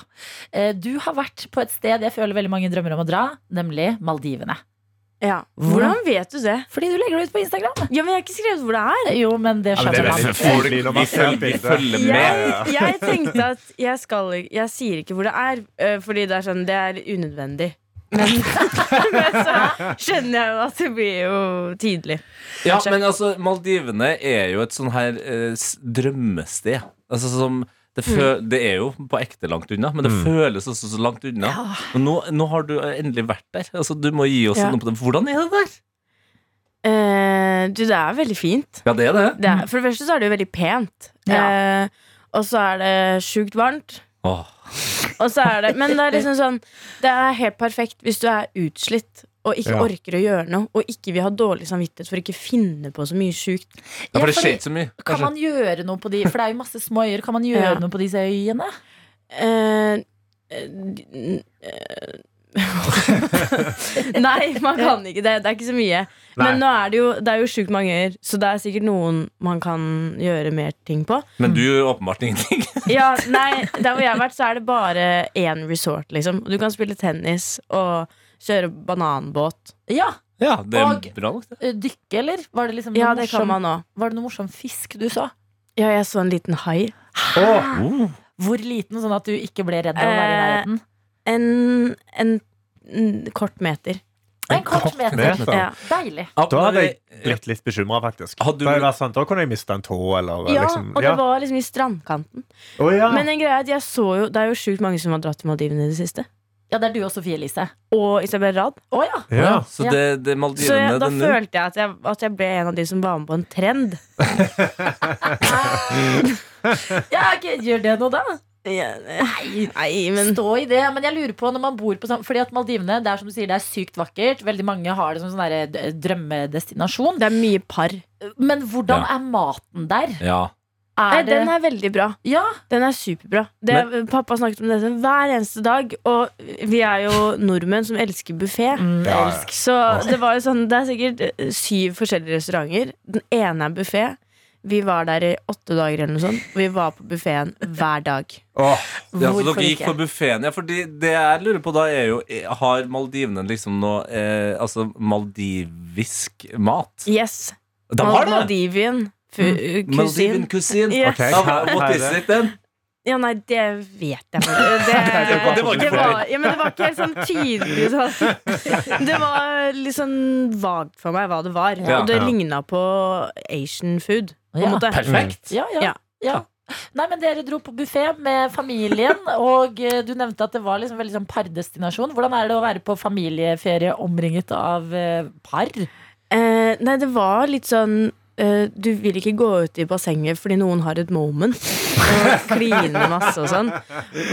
S2: Eh, Du har vært på et sted jeg føler veldig mange drømmer om å dra, nemlig Maldivene.
S1: Ja. Hvordan vet du det?
S2: Fordi du legger det ut på Instagram.
S1: Ja, men Jeg har ikke skrevet hvor det er.
S2: Jo, men det
S6: men det
S2: skjønner
S6: er
S2: man.
S6: veldig Folk, vi følger- vi
S1: Jeg,
S6: følger Ja, ja.
S8: eh,
S1: jeg tenkte at jeg, skal, jeg sier ikke hvor det er, øh, fordi det er sånn, det er unødvendig.
S8: Men, men så skjønner jeg jo at det blir jo tidlig.
S4: Ja, men altså, Maldivene er jo et sånn her eh, s- drømmested. Altså som det, fø det er jo på ekte langt unna, men det føles også så langt unna. Og nå, nå har du endelig vært der. Altså, du må gi oss
S8: Ja.
S4: noe på det. Hvordan er det der?
S8: Eh, du, det er veldig fint.
S4: Ja, det er det.
S8: Det er, for det første så er det jo veldig pent. Eh, og så er det sjukt varmt.
S4: Åh.
S8: Og så er det, men det er liksom sånn Det er helt perfekt hvis du er utslitt og ikke
S6: Ja.
S8: orker å gjøre noe, og ikke vil ha dårlig samvittighet for å ikke finne på så mye sjukt.
S4: Ja, for det
S2: fordi-
S4: skjer ikke så mye.
S2: Kan
S4: Kanskje.
S2: man gjøre noe på de For det er jo masse små øyer. Kan man gjøre
S8: Ja.
S2: noe på disse øyene?
S8: Eh, eh, n- eh, Nei, man kan ikke det. Det er ikke så mye. Men nå er det jo, det er jo sjukt mange øyer, så det er sikkert noen man kan gjøre mer ting på.
S4: Men du gjør åpenbart ingenting.
S8: Ja, nei, Der hvor jeg har vært, så er det bare én resort, liksom. Du kan spille tennis og kjøre bananbåt.
S2: Ja,
S4: Ja, det er
S2: Og-
S4: bra nok, det.
S2: ø, Dykke, eller? Var det, liksom noe
S8: Ja, det kan
S2: morsom-
S8: man òg.
S2: var det noe morsom fisk du så?
S8: Ja, jeg så en liten hai.
S6: Mm.
S4: Oh.
S2: Hvor liten, sånn at du ikke ble redd av å være i
S8: Eh,
S2: nærheten?
S8: En, en, en kort meter.
S2: En kort meter.
S6: meter.
S8: Ja.
S2: Deilig.
S6: Da hadde jeg blitt litt bekymra, faktisk.
S4: Hadde du-
S6: Da, hadde jeg vært sånn, da kunne jeg mista en tå, eller
S8: ja,
S6: liksom
S8: og det var liksom i strandkanten.
S6: Å, ja.
S8: Men en greie er at jeg så jo Det er jo sjukt mange som har dratt til Maldivene i det siste.
S2: Ja, det er du og Sofie Elise.
S8: Og Isabel Rad.
S2: Å ja.
S6: ja.
S4: Så
S2: Ja.
S4: det, det er
S8: Så jeg,
S4: Maldivene
S8: da
S4: det er nå.
S8: følte jeg at, jeg at jeg ble en av de som var med på en trend.
S2: ja ok, Gjør det noe, da?
S8: Nei, men
S2: Stå i det. Men jeg lurer på når man bor på sånn Fordi at Maldivene det er som du sier, det er sykt vakkert. Veldig mange har det som sånn derre d- drømmedestinasjon.
S8: det er mye par.
S2: Men hvordan
S4: Ja.
S2: er maten der?
S4: Ja.
S8: Nei,
S2: Er det
S8: den er veldig bra.
S2: Ja,
S8: Den er superbra. Det, pappa snakket om dette hver eneste dag, og vi er jo nordmenn som elsker buffé.
S2: Mm.
S6: Ja, ja.
S2: elsk.
S8: Så det var jo sånn Det er sikkert eh, syv forskjellige restauranter. Den ene er buffé. Vi var der i åtte dager eller noe sånt. og Vi var på buffeen hver dag.
S6: Åh,
S4: Ja, så
S2: Hvorfor
S4: dere gikk
S2: ikke?
S4: for buffeen. Ja, fordi det jeg lurer på da, er jo eh, Har Maldivene liksom noe eh, Altså maldivisk mat?
S8: Yes.
S4: De har det! Mm.
S8: Maldivian fu-
S4: Maldivian
S8: kusin.
S4: kusin.
S8: Yes.
S6: Ok.
S4: Ja, hva- what is it then?
S8: Ja, nei, det vet jeg bare. Det,
S6: det var-
S8: det,
S6: det var
S8: var,
S6: ikke
S8: ja, men det var ikke helt sånn tydelig. Sånn. Det var litt sånn vagt for meg hva det var.
S4: Ja.
S8: og det
S6: Ja.
S8: ligna på Asian food. På en
S2: Ja.
S8: måte.
S4: Perfekt.
S2: Ja, ja,
S8: Ja.
S2: ja. Nei, men Dere dro på buffé med familien, og eh, du nevnte at det var liksom veldig sånn pardestinasjon. Hvordan er det å være på familieferie omringet av eh, par?
S8: Eh, nei, det var litt sånn eh, Du vil ikke gå ut i bassenget fordi noen har et moment. Og kliner masse og sånn.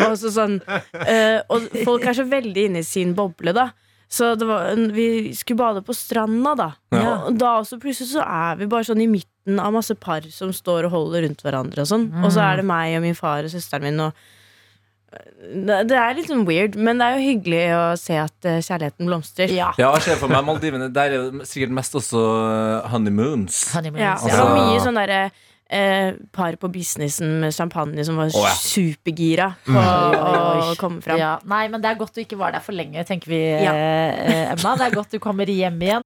S8: Og, så sånn eh, og folk er så veldig inne i sin boble, da. Så det var, en- vi skulle bade på stranda, da.
S4: Ja.
S8: Og da også plutselig så er vi bare sånn i midten av masse par som står og holder rundt hverandre og sånn. Og så er det meg og min far og søsteren min og eh, det det er litt sånn weird, men det er jo hyggelig å se at eh, kjærligheten blomstrer.
S2: Ja.
S4: Ja, jeg ser for meg Maldivene. Der er det sikkert mest også eh, honeymoons.
S8: Ja,
S2: Honeymoons,
S8: det
S2: ja.
S8: var
S4: Altså-
S8: mye sånn derre eh, par på businessen med champagne som var
S4: ja.
S8: supergira på
S2: Oi, oi, oi.
S8: å komme fram.
S2: Ja, nei, men det er godt du ikke var der for lenge, tenker vi,
S8: Ja.
S2: eh, Emma. Det er godt du kommer hjem igjen.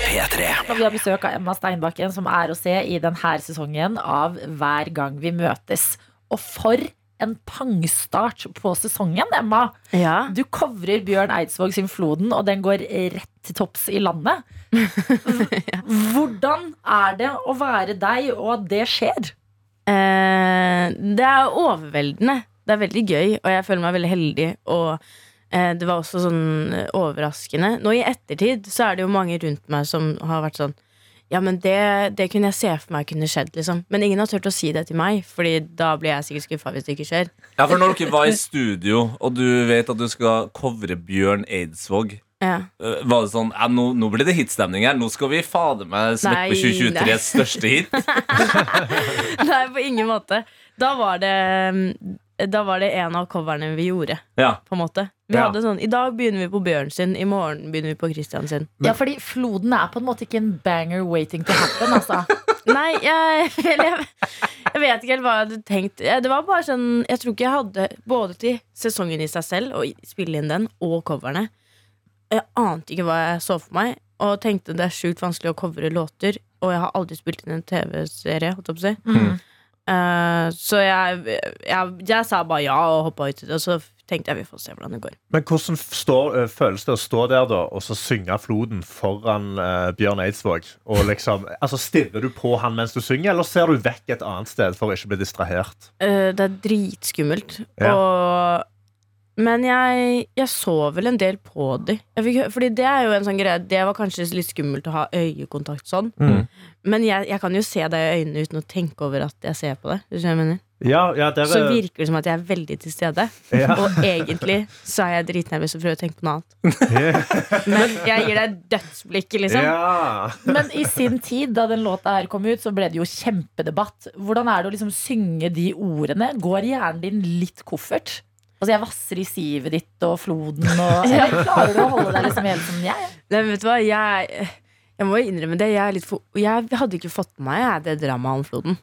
S2: Når vi har besøk av Emma Steinbakken, som er å se i denne sesongen av Hver gang vi møtes. Og for en pangstart på sesongen, Emma!
S8: Ja.
S2: Du covrer Bjørn Eidsvåg sin Floden, og den går rett til topps i landet. Hvordan er det å være deg, og at det skjer?
S8: Eh, det er overveldende. Det er veldig gøy, og jeg føler meg veldig heldig. Og eh, det var også sånn eh, overraskende. Nå i ettertid så er det jo mange rundt meg som har vært sånn ja, men det, det kunne jeg se for meg kunne skjedd, liksom. Men ingen har turt å si det til meg, Fordi da blir jeg sikkert skuffa hvis det ikke skjer.
S4: Ja, for når dere var i studio, og du vet at du skal covre Bjørn Eidsvåg
S8: Ja.
S4: eh, var det sånn ja, nå, nå blir det hitstemning her. Nå skal vi fader meg
S8: Nei,
S4: smekke på 2023s største hit.
S8: Nei, på ingen måte. Da var det mm, Da var det en av coverne vi gjorde,
S4: Ja.
S8: på en måte. Vi
S6: Ja.
S8: hadde sånn I dag begynner vi på Bjørn sin, i morgen begynner vi på Christian sin.
S2: Ja, fordi Floden er på en måte ikke en banger waiting to happen, altså.
S8: Nei, jeg, eller jeg, jeg vet ikke helt hva jeg hadde tenkt. Eh, Det var bare sånn Jeg tror ikke jeg hadde både til sesongen i seg selv, og i- spille inn den, og coverne. Jeg ante ikke hva jeg så for meg, og tenkte det er sjukt vanskelig å covre låter. Og jeg har aldri spilt inn en TV-serie, holdt jeg på å si.
S2: Mm.
S8: Eh, så jeg, jeg, jeg sa bare ja og hoppa uti det, og så tenkte jeg vi får se hvordan det går.
S6: Men hvordan f- står, eh, føles det å stå der da, og så synge Floden foran eh, Bjørn Eidsvåg? Og liksom, altså, stirrer du på han mens du synger, eller ser du vekk et annet sted for å ikke bli distrahert?
S8: Eh, det er dritskummelt.
S6: Ja.
S8: Og, men jeg, jeg så vel en del på de. Jeg fikk, hø- fordi det er jo en sånn greie Det var kanskje litt skummelt å ha øyekontakt sånn.
S6: Mm.
S8: Men jeg, jeg kan jo se det i øynene uten å tenke over at jeg ser på det. Hvis du skjønner hva jeg mener.
S6: Ja, ja, det er
S8: Så
S6: vel-
S8: virker det som at jeg er veldig til stede.
S6: Ja.
S8: Og egentlig så er jeg dritnervøs og prøver å tenke på noe annet. Men jeg gir deg dødsblikket, liksom.
S6: Ja.
S2: Men i sin tid, da den låta her kom ut, så ble det jo kjempedebatt. Hvordan er det å liksom synge de ordene? Går hjernen din litt koffert? Altså, jeg vasser i sivet ditt og floden og Eller klarer du å holde deg liksom helt som jeg?
S8: Nei, men vet du hva, jeg, jeg må jo innrømme det. Jeg, er litt for, jeg hadde ikke fått med meg jeg, det dramaet om floden.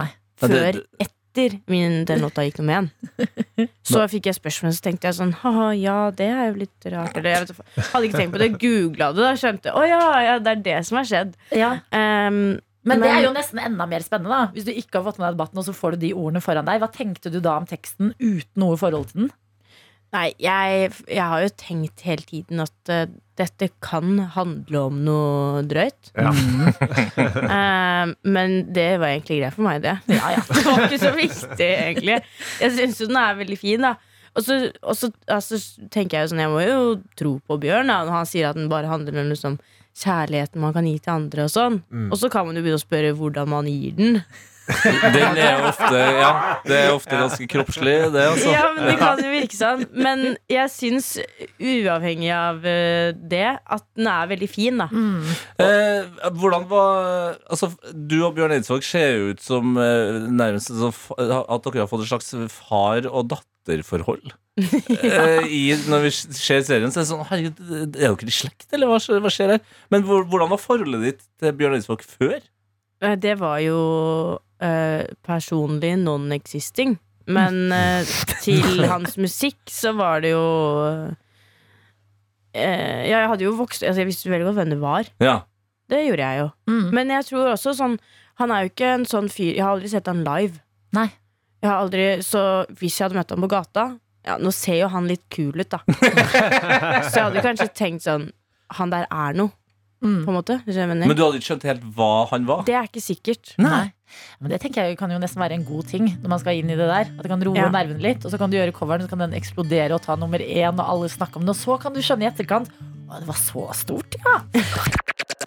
S2: Nei.
S8: Før
S4: Ja, det-
S8: etter min, den låta gikk nummer én. Så fikk jeg spørsmål, så tenkte jeg sånn Haha, ja, det er jo litt rart. Eller, jeg vet, ikke. hadde ikke tenkt på det. Googla det, da. Skjønte. Å ja, ja, det er det som har skjedd.
S2: Ja.
S8: Ehm,
S2: Men, det
S8: Men-
S2: er jo nesten enda mer spennende, da. Hvis du ikke har fått med deg debatten, og så får du de ordene foran deg. Hva tenkte du da om teksten uten noe forhold til den?
S8: Nei, jeg, jeg har jo tenkt hele tiden at eh, dette kan handle om noe drøyt.
S6: Ja.
S8: Eh, men det var egentlig greit for meg, det. Det var ikke så viktig, egentlig. Jeg syns jo den er veldig fin, da. Og så, og så altså, tenker jeg jo sånn, jeg må jo tro på Bjørn da, når han sier at den bare handler om liksom, kjærligheten man kan gi til andre og sånn. Og så kan man jo begynne å spørre hvordan man gir den.
S4: Den er ofte, ja, det er ofte ganske kroppslig, det, altså.
S8: Ja, men det kan jo virke sånn. Men jeg syns, uavhengig av eh, det, at den er veldig fin, da.
S2: Mm.
S4: Eh, hvordan var Altså, du og Bjørn Eidsvåg ser jo ut som eh, nærmest som fa- at dere har fått et slags far- og datterforhold. eh, i, når vi ser serien, så er det sånn Herregud, er dere i slekt, eller hva, skjer- hva skjer her? Men hvor, hvordan var forholdet ditt til Bjørn Eidsvåg før?
S8: Eh, Det var jo eh, personlig non-existing. Men eh, til hans musikk så var det jo eh, Ja, jeg hadde jo vokst altså, Jeg visste veldig godt hvem det var.
S4: Ja.
S8: Det gjorde jeg jo.
S2: Mm.
S8: Men jeg tror også sånn Han er jo ikke en sånn fyr Jeg har aldri sett han live.
S2: Nei.
S8: Jeg har aldri, så hvis jeg hadde møtt ham på gata ja, Nå ser jo han litt kul ut, da. så jeg hadde kanskje tenkt sånn Han der er noe,
S2: Mm.
S8: på en måte. Hvis jeg mener.
S4: Men du hadde ikke skjønt helt hva han var?
S8: det er ikke sikkert.
S2: Nei. Men det tenker jeg kan jo nesten være en god ting når man skal inn i det der. At det kan roe
S8: Ja.
S2: nervene litt, og så kan du gjøre coveren, så kan den eksplodere og ta nummer én, og alle snakker om det, og så kan du skjønne i etterkant å, det var så stort, ja!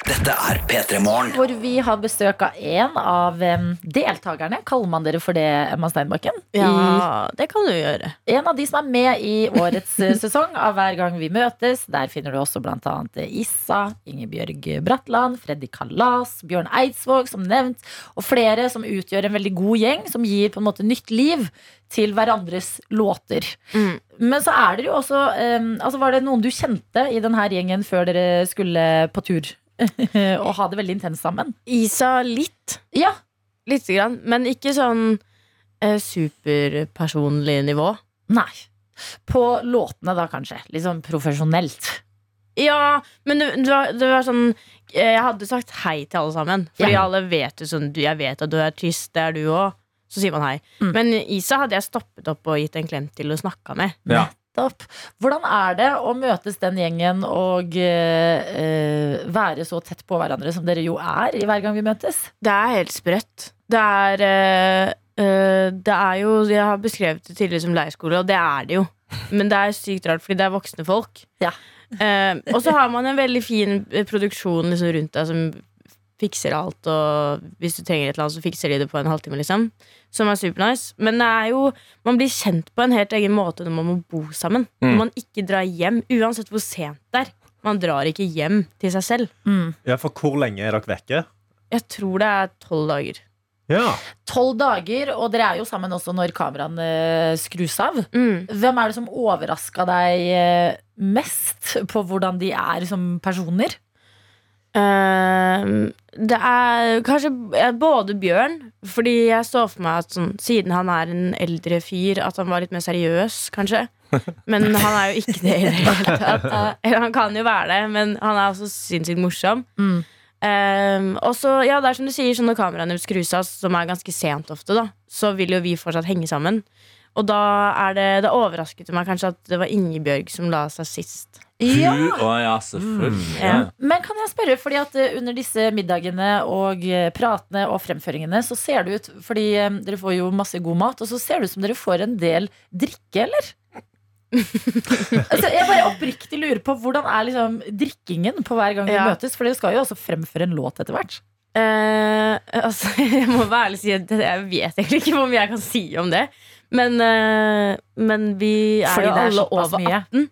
S2: Hvor vi har besøk av en av em, deltakerne. Kaller man dere for det, Emma Steinbakken?
S8: Ja, det kan du gjøre.
S2: I, en av de som er med i årets eh, sesong av Hver gang vi møtes. Der finner du også blant annet eh, Issa, Ingebjørg Bratland, Freddy Kalas, Bjørn Eidsvåg, som nevnt, og flere som utgjør en veldig god gjeng, som gir på en måte nytt liv til hverandres låter.
S8: Mm.
S2: Men så er dere jo også em, altså Var det noen du kjente i denne gjengen før dere skulle på tur? og ha det veldig intenst sammen?
S8: Isa litt.
S2: Ja.
S8: Lite grann. Men ikke sånn eh, superpersonlig nivå.
S2: Nei. På låtene, da, kanskje. Litt sånn profesjonelt.
S8: Ja, men det, det, var, det var sånn eh, Jeg hadde sagt hei til alle sammen. Fordi
S2: Ja.
S8: alle vet jo sånn du, Jeg vet at du er tyst, det er du òg. Så sier man hei.
S2: Mm.
S8: Men Isa hadde jeg stoppet opp og gitt en klem til og snakka med.
S4: Ja.
S2: Nettopp. Hvordan er det å møtes den gjengen og eh, eh, være så tett på hverandre som dere jo er i hver gang vi møtes?
S8: Det er helt sprøtt. Det er eh, eh, Det er jo Jeg har beskrevet det tidligere som leirskole, og det er det jo. Men det er sykt rart, fordi det er voksne folk.
S2: Ja.
S8: Eh, og så har man en veldig fin eh, produksjon liksom, rundt deg som fikser alt, og hvis du trenger et eller annet, så fikser de det på en halvtime, liksom. Som er supernice. Men det er jo Man blir kjent på en helt egen måte når man må bo sammen. Når man ikke drar hjem, uansett hvor sent det er. Man drar ikke hjem til seg selv.
S6: ja, for hvor lenge er dere vekke?
S8: Jeg tror det er tolv dager.
S6: Ja.
S2: Tolv dager, og dere er jo sammen også når kameraene eh, skrus av.
S8: Mm.
S2: Hvem er det som overraska deg eh, mest på hvordan de er som personer?
S8: Ehm, det er kanskje eh, både Bjørn, fordi jeg så for meg at sånn, siden han er en eldre fyr, at han var litt mer seriøs, kanskje. Men han er jo ikke det i det hele tatt. Eller han kan jo være det, men han er også sinnssykt morsom.
S2: Mm.
S8: Ehm, og så, ja, det er som du sier, sånn når kameraene skrus av, som er ganske sent ofte, da, så vil jo vi fortsatt henge sammen.
S1: Og da, er det, da overrasket det meg kanskje at det var Ingebjørg som la seg sist.
S2: Ja.
S4: Hun- Å ja, selvfølgelig.
S1: Ja.
S2: Men kan jeg spørre, fordi at eh, under disse middagene og eh, pratene og fremføringene, så ser det ut Fordi eh, dere får jo masse god mat, og så ser det ut som dere får en del drikke, eller? altså, jeg bare oppriktig lurer på hvordan er liksom drikkingen på hver gang vi
S1: Ja.
S2: møtes? For dere skal jo også fremføre en låt etter hvert.
S1: Eh, altså, jeg må være ærlig og si at jeg vet egentlig ikke hvor mye jeg kan si om det. Men, eh, men vi er
S2: Fordi
S1: jo
S2: det er
S1: alle
S2: såpass
S1: over
S2: mye.
S1: 18.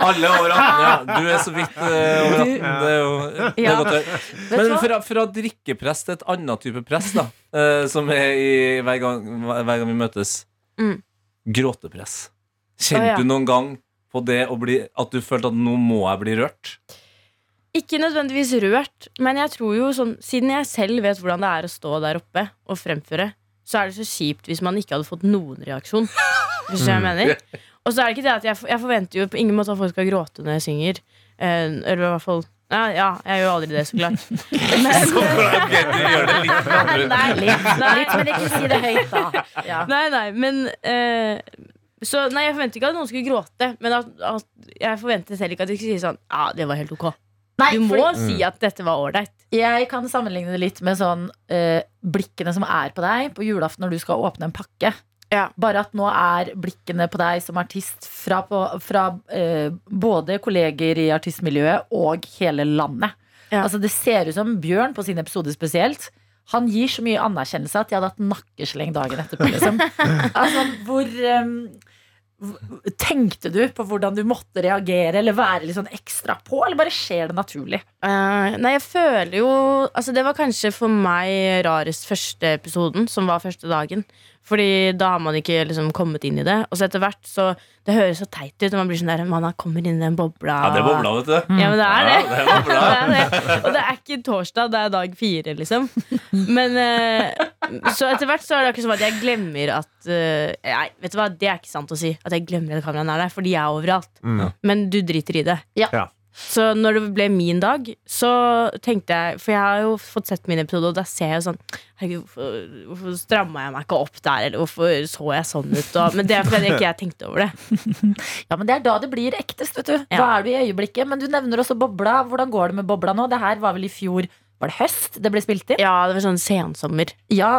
S4: Alle over 18, ja. Du er så vidt eh, over 18. Det er jo det er
S1: Ja.
S4: godt å høre.
S2: du
S4: Men
S2: hva?
S4: fra, fra drikkepress til et annet type press, da, eh, som er i, hver, gang, hver gang vi møtes.
S1: Mm.
S4: Gråtepress.
S1: Å,
S4: Kjente
S1: ja.
S4: du noen gang på det å bli, at du følte at nå må jeg bli rørt?
S1: Ikke nødvendigvis rørt, men jeg tror jo sånn Siden jeg selv vet hvordan det er å stå der oppe og fremføre, så er det så kjipt hvis man ikke hadde fått noen reaksjon. Hvis du skjønner hva jeg mener. Og så er det ikke det at jeg, for- jeg forventer jo på ingen måte at folk skal gråte når jeg synger. Eh, eller i hvert fall ja, ja, jeg gjør jo aldri det, så klart. Men,
S2: Nei, litt, litt, men ikke si det høyt, da. Ja.
S1: nei, nei, men eh, så, nei, jeg forventer ikke at noen skulle gråte, men at, at jeg forventer selv ikke at de skulle si sånn Ja, det var helt ok.
S2: Nei,
S1: Du må
S2: fordi-
S1: si
S4: Mm.
S1: at dette var ålreit.
S2: Jeg kan sammenligne det litt med sånn eh, blikkene som er på deg på julaften når du skal åpne en pakke.
S1: Ja.
S2: Bare at nå er blikkene på deg som artist fra, på, fra eh, både kolleger i artistmiljøet og hele landet.
S1: Ja.
S2: Altså Det ser ut som Bjørn på sin episode spesielt. Han gir så mye anerkjennelse at jeg hadde hatt nakkesleng dagen etterpå. Liksom. altså, hvor eh, v- Tenkte du på hvordan du måtte reagere eller være litt sånn ekstra på, eller bare skjer det naturlig?
S1: Eh, nei, jeg føler jo Altså, det var kanskje for meg rarest første episoden, som var første dagen. Fordi da har man ikke liksom kommet inn i det. Og så etter hvert så Det høres så teit ut når man blir sånn der Man har- kommer inn i den bobla.
S4: Ja, det er bobla, vet du.
S1: Ja, men det er det.
S4: Ja, det er bobla.
S1: det er det. Og det er ikke torsdag, det er dag fire, liksom. Men eh, Så etter hvert så er det akkurat som at jeg glemmer at eh, Nei, vet du hva, det er ikke sant å si. At jeg glemmer at kameraene er der, fordi jeg er overalt. Men du driter i det.
S2: Ja.
S6: Ja.
S1: Så når det ble min dag, så tenkte jeg For jeg har jo fått sett min episode, og da ser jeg jo sånn Herregud, hvorfor, hvorfor stramma jeg meg ikke opp der? Eller hvorfor så jeg sånn ut? Og, men det er fordi ikke jeg tenkte over det.
S2: Ja, men Det er da det blir ektest. vet du Da
S1: Ja.
S2: er du i øyeblikket. Men du nevner også bobla. Hvordan går det med bobla nå? Det her var vel i fjor Var det høst det ble spilt inn? Ja,
S1: Ja, det var sånn sensommer.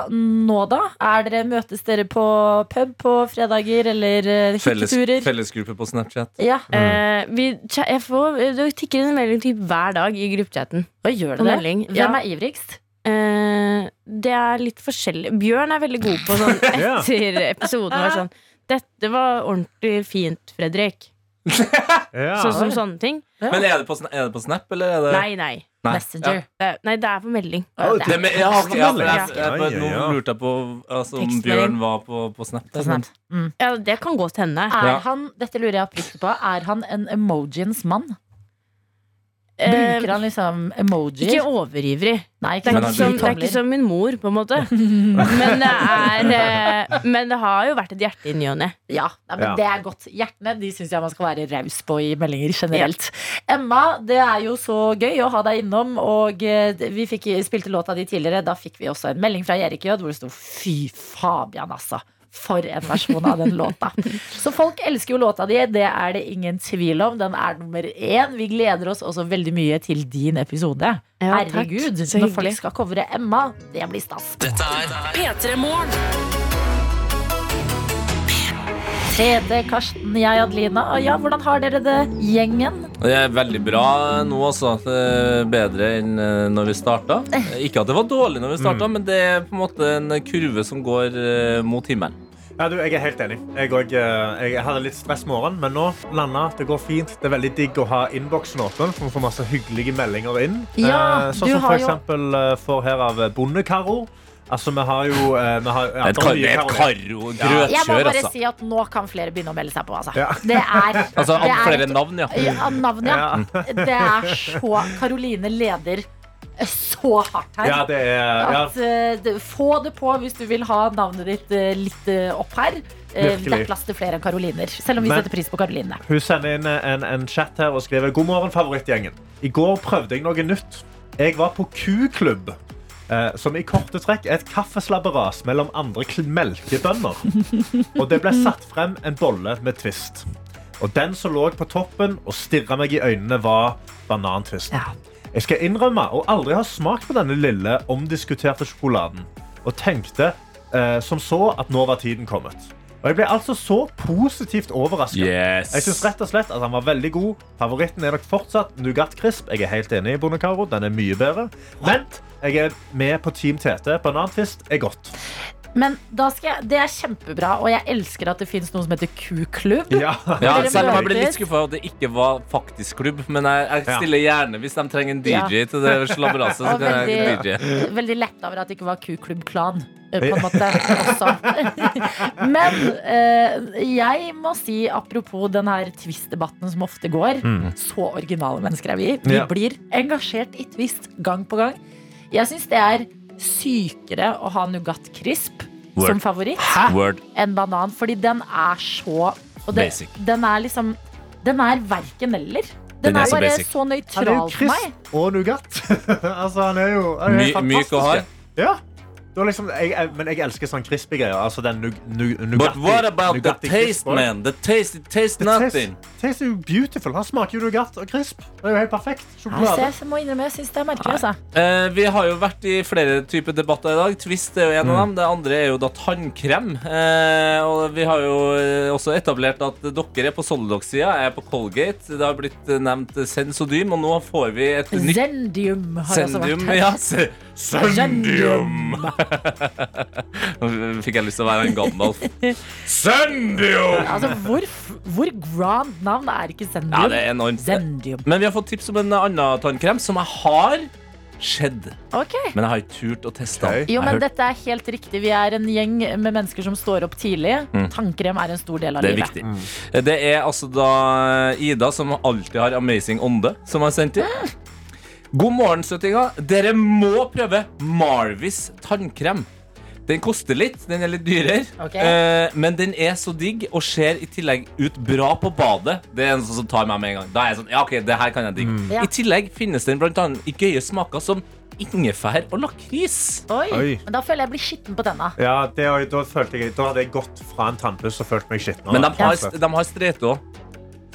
S2: nå da? Er dere, møtes dere på pub på fredager eller eh,
S4: Felles,
S2: hytteturer?
S4: fellesgruppe på Snapchat.
S2: Ja,
S1: Eh, vi, cha- jeg får, det tikker inn en melding typ hver dag i gruppechatten.
S2: Hva gjør
S1: På
S2: dere det?
S1: melding. Ja.
S2: Hvem er ivrigst?
S1: Eh, det er litt forskjellig. Bjørn er veldig god på sånn
S6: Ja.
S1: etter episoden. Var sånn, Dette var ordentlig fint, Fredrik.
S6: Ja.
S1: Sånn som sånne ting.
S4: Men er det på, Sna- er det på Snap, eller er det
S1: Nei, nei.
S2: Messenger.
S1: Det er- Nei, det er på melding.
S6: Ja,
S2: Det er-
S4: Det med, ja, ok, ja, for jeg,
S6: Ja,
S4: jeg,
S6: ja,
S4: nå
S6: ja.
S4: lurte jeg på altså, om
S2: Tekstmelding.
S4: Bjørn var på, på Snap.
S2: På Snap. Mm.
S1: Ja, det kan godt hende.
S2: Er
S4: Ja.
S2: han dette lurer jeg oppriktig på, er han en emojiens mann?
S1: Eh,
S2: Bruker han liksom emojier?
S1: ikke overivrig.
S2: Nei, sånn
S1: Det er, ikke
S4: Men han
S1: som,
S4: bruker
S1: det er ikke som min mor, på en måte. Men det, er, eh, men det har jo vært et hjerte i ny og ne.
S2: Ja, nei, men
S6: Ja.
S2: det er godt. Hjertene de syns jeg man skal være raus på i meldinger generelt. Emma, det er jo så gøy å ha deg innom, og eh, vi fikk, spilte låta di tidligere. Da fikk vi også en melding fra Erik Jød hvor det sto 'Fy Fabian, altså'. For en versjon av den låta. Så folk elsker jo låta di, det er det ingen tvil om. Den er nummer én. Vi gleder oss også veldig mye til din episode.
S1: Ja, takk.
S2: Herregud,
S1: Så
S2: når folk
S1: hyggelig.
S2: skal covre Emma, det blir stas.
S10: P3 Morgen.
S2: Tredje Karsten, jeg Adelina. Og ja, hvordan har dere det, gjengen?
S4: Det er veldig bra nå, altså. Det er Bedre enn eh, når vi starta. Ikke at det var dårlig når vi
S6: Mm.
S4: starta, men det er på en måte en kurve som går eh, mot himmelen.
S6: Ja, du, jeg er helt enig. Jeg, og, eh, jeg hadde litt stress morgenen, men nå landa. Det går fint. Det er veldig digg å ha innboksen åpen, for vi får masse hyggelige meldinger inn.
S2: Ja,
S6: Eh,
S2: du
S6: sånn som
S2: har
S6: for
S2: jo-
S6: eksempel eh, får her av Bondekaro. Altså, vi har jo eh, vi har, ja,
S4: Det er et kar- det er et
S6: Karo.
S4: karo
S2: Jeg må
S4: grøtkjør,
S2: bare
S4: altså.
S2: si at nå kan flere begynne å melde seg på, altså.
S6: Ja.
S2: Det er,
S4: Altså
S2: det er
S4: flere
S2: et-
S4: navn, ja.
S2: Ja, navn, ja. Det er så Karoline leder så hardt her.
S6: Ja, det er ja,
S2: At, eh, det- få det på hvis du vil ha navnet ditt eh, litt eh, opp her. Eh,
S6: Virkelig.
S2: det er plass til flere enn karoliner. Selv om vi
S6: Men-
S2: setter pris på karolinene.
S6: Hun sender inn en, en chat her og skriver God morgen, favorittgjengen. I går prøvde jeg noe nytt. Jeg var på Q-klubb. eh, som i korte trekk er et kaffeslabberas mellom andre kl- melkebønder. Og det ble satt frem en bolle med twist. Og den som lå på toppen og stirra meg i øynene, var banantwisten. Jeg skal innrømme å aldri ha smakt på denne lille, omdiskuterte sjokoladen. Og tenkte eh, som så at nå var tiden kommet. Og jeg ble altså så positivt overraska.
S4: Yes.
S6: Jeg synes rett og slett at han var veldig god. Favoritten er nok fortsatt Nougat Crisp. Jeg er helt enig i Bonacaro. Den er mye bedre. Men jeg er med på Team Tete. Banantvist er godt.
S2: Men da skal jeg, det er kjempebra, og jeg elsker at det fins noe som heter Q-klubb.
S6: Ja.
S4: Ja,
S2: Dere
S4: selv om jeg
S2: møtes.
S4: ble litt skuffa over at det ikke var faktisk klubb. Men jeg, jeg
S6: Ja.
S4: stiller gjerne hvis de trenger en DJ til det slabberaset. Så
S2: Og
S4: kan jeg
S2: veldig-
S4: DJ.
S2: Veldig lett over at det ikke var Q-klubb-klan. eh, På en måte også. Men eh, jeg må si, apropos den her twist-debatten som ofte går, så originale mennesker er vi. Vi
S6: Mm. Ja.
S2: blir engasjert i twist gang på gang. Jeg syns det er sykere å ha Nougat Crisp
S4: Word.
S2: som favoritt
S4: Word.
S2: enn banan, fordi den er så og det,
S4: Basic.
S2: Den er liksom Den er verken eller. Den,
S4: Den er
S2: er,
S4: så
S2: bare
S4: basic.
S2: så
S6: Han er
S2: nøytral
S6: jo
S2: for meg.
S6: crisp og nougat. altså, han er jo han er
S4: My,
S6: helt fantastisk.
S4: myk og hard.
S6: Ja. Det var liksom, jeg, jeg, men jeg elsker sånn crispy greier. Altså den nu, nu,
S4: But
S6: Nugatti-
S4: what about the
S6: Nugatti crisp
S4: taste,
S6: også.
S4: man? The taste, it tastes
S6: Det tastes-
S4: nothing.
S6: tastes jo beautiful. Han smaker jo nougat og crisp. Det er jo helt perfekt.
S2: Altså,
S6: Sjokolade.
S2: jeg må innrømme, jeg syns det er merkelig. Altså.
S4: Eh, vi har jo vært i flere typer debatter i dag. Twist er jo en av dem. Det andre er jo da tannkrem. Eh, og vi har jo eh, også etablert at dere er på Solidox-sida, jeg er på Colgate. Det har blitt eh, nevnt Sensodyne, og nå får vi et nytt
S2: Zendium har også vært
S4: Sendium,
S2: her.
S4: ja. se- Sendium! Nå fikk jeg lyst til å være en Gandalf. Sendium!
S2: Altså, hvor, f- hvor grand navn er ikke Zendium?
S4: Ja, det er enormt.
S2: Zendium.
S4: Men vi har fått tips om en annen tannkrem som jeg har skjedd.
S2: Ok.
S4: Men jeg har ikke turt å teste den.
S6: Ok.
S2: Jo,
S4: Jeg
S2: men
S4: hørte-
S2: dette er helt riktig. Vi er en gjeng med mennesker som står opp tidlig. Tannkrem er en stor del av
S4: Mm. Det er
S2: livet.
S4: viktig. Det er altså da Ida, som alltid har Amazing Ånde, som har sendt inn. God morgen, søttinga. Dere må prøve Marvis tannkrem. Den koster litt, den er litt dyrere,
S2: Ok.
S4: eh, men den er så digg og ser i tillegg ut bra på badet. Det er en sånn som tar meg med en gang. Da er jeg sånn, ja ok, det her kan jeg digge.
S2: Mm. Ja.
S4: I tillegg finnes den blant annet i gøye smaker som ingefær og lakris.
S2: Oi,
S6: Oi.
S2: men Da føler jeg jeg blir skitten på tenna.
S6: Ja, det, har jeg- da, følte jeg, da hadde jeg gått fra en tannpuss og følt meg skitten. altså.
S4: Men de har, de har strete òg.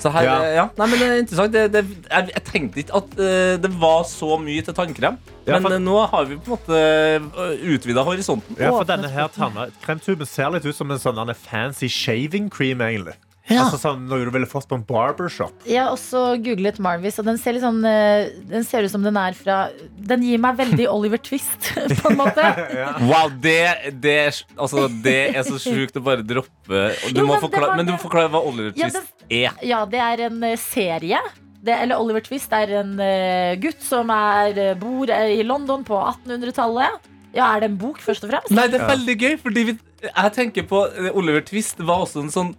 S4: Så her, eh,
S6: Ja.
S4: ja. Nei, men det er interessant. Det, det, jeg, jeg tenkte ikke at eh, det var så mye til tannkrem.
S6: Ja,
S4: men
S6: for-
S4: eh, nå har vi på en måte utvida horisonten.
S6: Ja, for denne her tanna- Kremtuben ser litt ut som en sånn denne fancy shaving cream. egentlig Altså sånn Noe du ville fått på en barbershop.
S2: Jeg har også googlet Marvis, og den ser, litt sånn, eh, den ser ut som den er fra Den gir meg veldig Oliver Twist, på en måte.
S4: Wow, det, det, er s- altså, det er så sjukt å bare droppe og du
S2: Jo,
S4: må
S2: men det
S4: forklare,
S2: var
S4: Men du må
S2: det-
S4: forklare hva Oliver
S2: Ja,
S4: Twist er.
S2: Ja, det er en eh, serie. Det, eller Oliver Twist er en eh, gutt som er, eh, bor eh, i London på 1800-tallet. Ja, Er det en bok, først og fremst?
S4: Nei, det er veldig gøy, fordi vi, jeg tenker på eh, Oliver Twist var også en sånn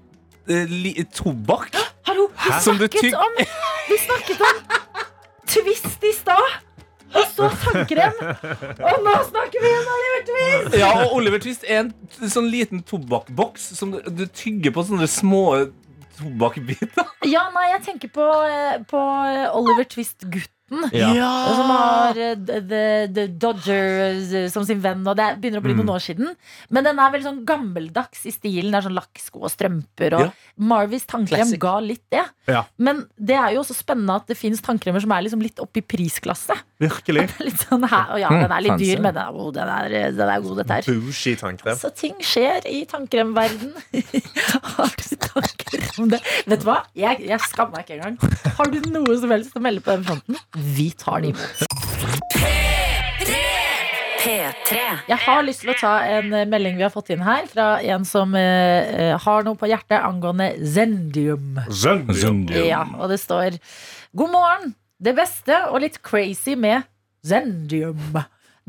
S4: eh, li, tobakk.
S2: Hallo, vi
S4: Som du
S2: snakket
S4: tygg-
S2: om Vi snakket om Twist i stad! Og så tannkrem! Og nå snakker vi om Oliver Twist!
S4: Ja, og Oliver Twist er en t- sånn liten tobakkboks som du, du tygger på sånne små tobakkbiter.
S2: Ja, nei, jeg tenker på, eh, på eh, Oliver Twist-gutten.
S4: Ja.
S2: Og som har eh, The, the, the Dodger eh, som sin venn, og det er- begynner å bli
S4: Mm.
S2: noen år siden. Men den er veldig sånn gammeldags i stilen. Det er sånn Lakksko og strømper. Og
S4: Ja.
S2: Marvis tannkrem
S4: Classic.
S2: ga litt det.
S6: Ja.
S2: Men det er jo også spennende at det fins tannkremer som er liksom litt opp i prisklasse.
S6: Virkelig
S2: Litt sånn her, og ja,
S4: Mm,
S2: den er litt
S4: fancy.
S2: dyr, men den er, oh, den er, den er god, dette her.
S6: bougie tannkrem.
S2: Så ting skjer i tannkremverden Har du tanker om det? Vet du hva? Jeg, jeg skammer meg ikke engang. Har du noe som helst å melde på den fronten? Vi tar det imot.
S1: P3.
S2: Jeg har lyst til å ta en eh, melding vi har fått inn her, fra en som eh, eh, har noe på hjertet angående Zendium. Ja, og det står God morgen. Det beste og litt crazy med Zendium.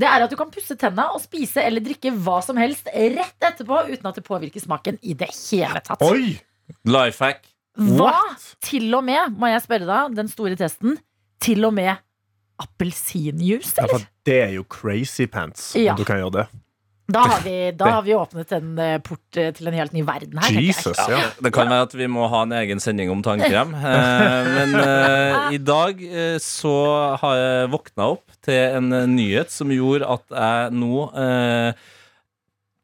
S2: Det er at du kan pusse tenna og spise eller drikke hva som helst rett etterpå uten at det påvirker smaken i det hele tatt.
S6: Oi!
S4: Life hack.
S2: Hva? Til og med, må jeg spørre da, den store testen, til og med appelsinjuice,
S6: Ja,
S2: eller?
S6: for det er jo crazy pants.
S2: Ja.
S6: om Du kan gjøre det.
S2: Da har vi, da har vi åpnet en eh, port eh, til en helt ny verden her. tenker jeg.
S6: Jesus, ja.
S4: Det kan være at vi må ha en egen sending om tannkrem. Eh, men eh, i dag eh, så har jeg våkna opp til en eh, nyhet som gjorde at jeg nå eh,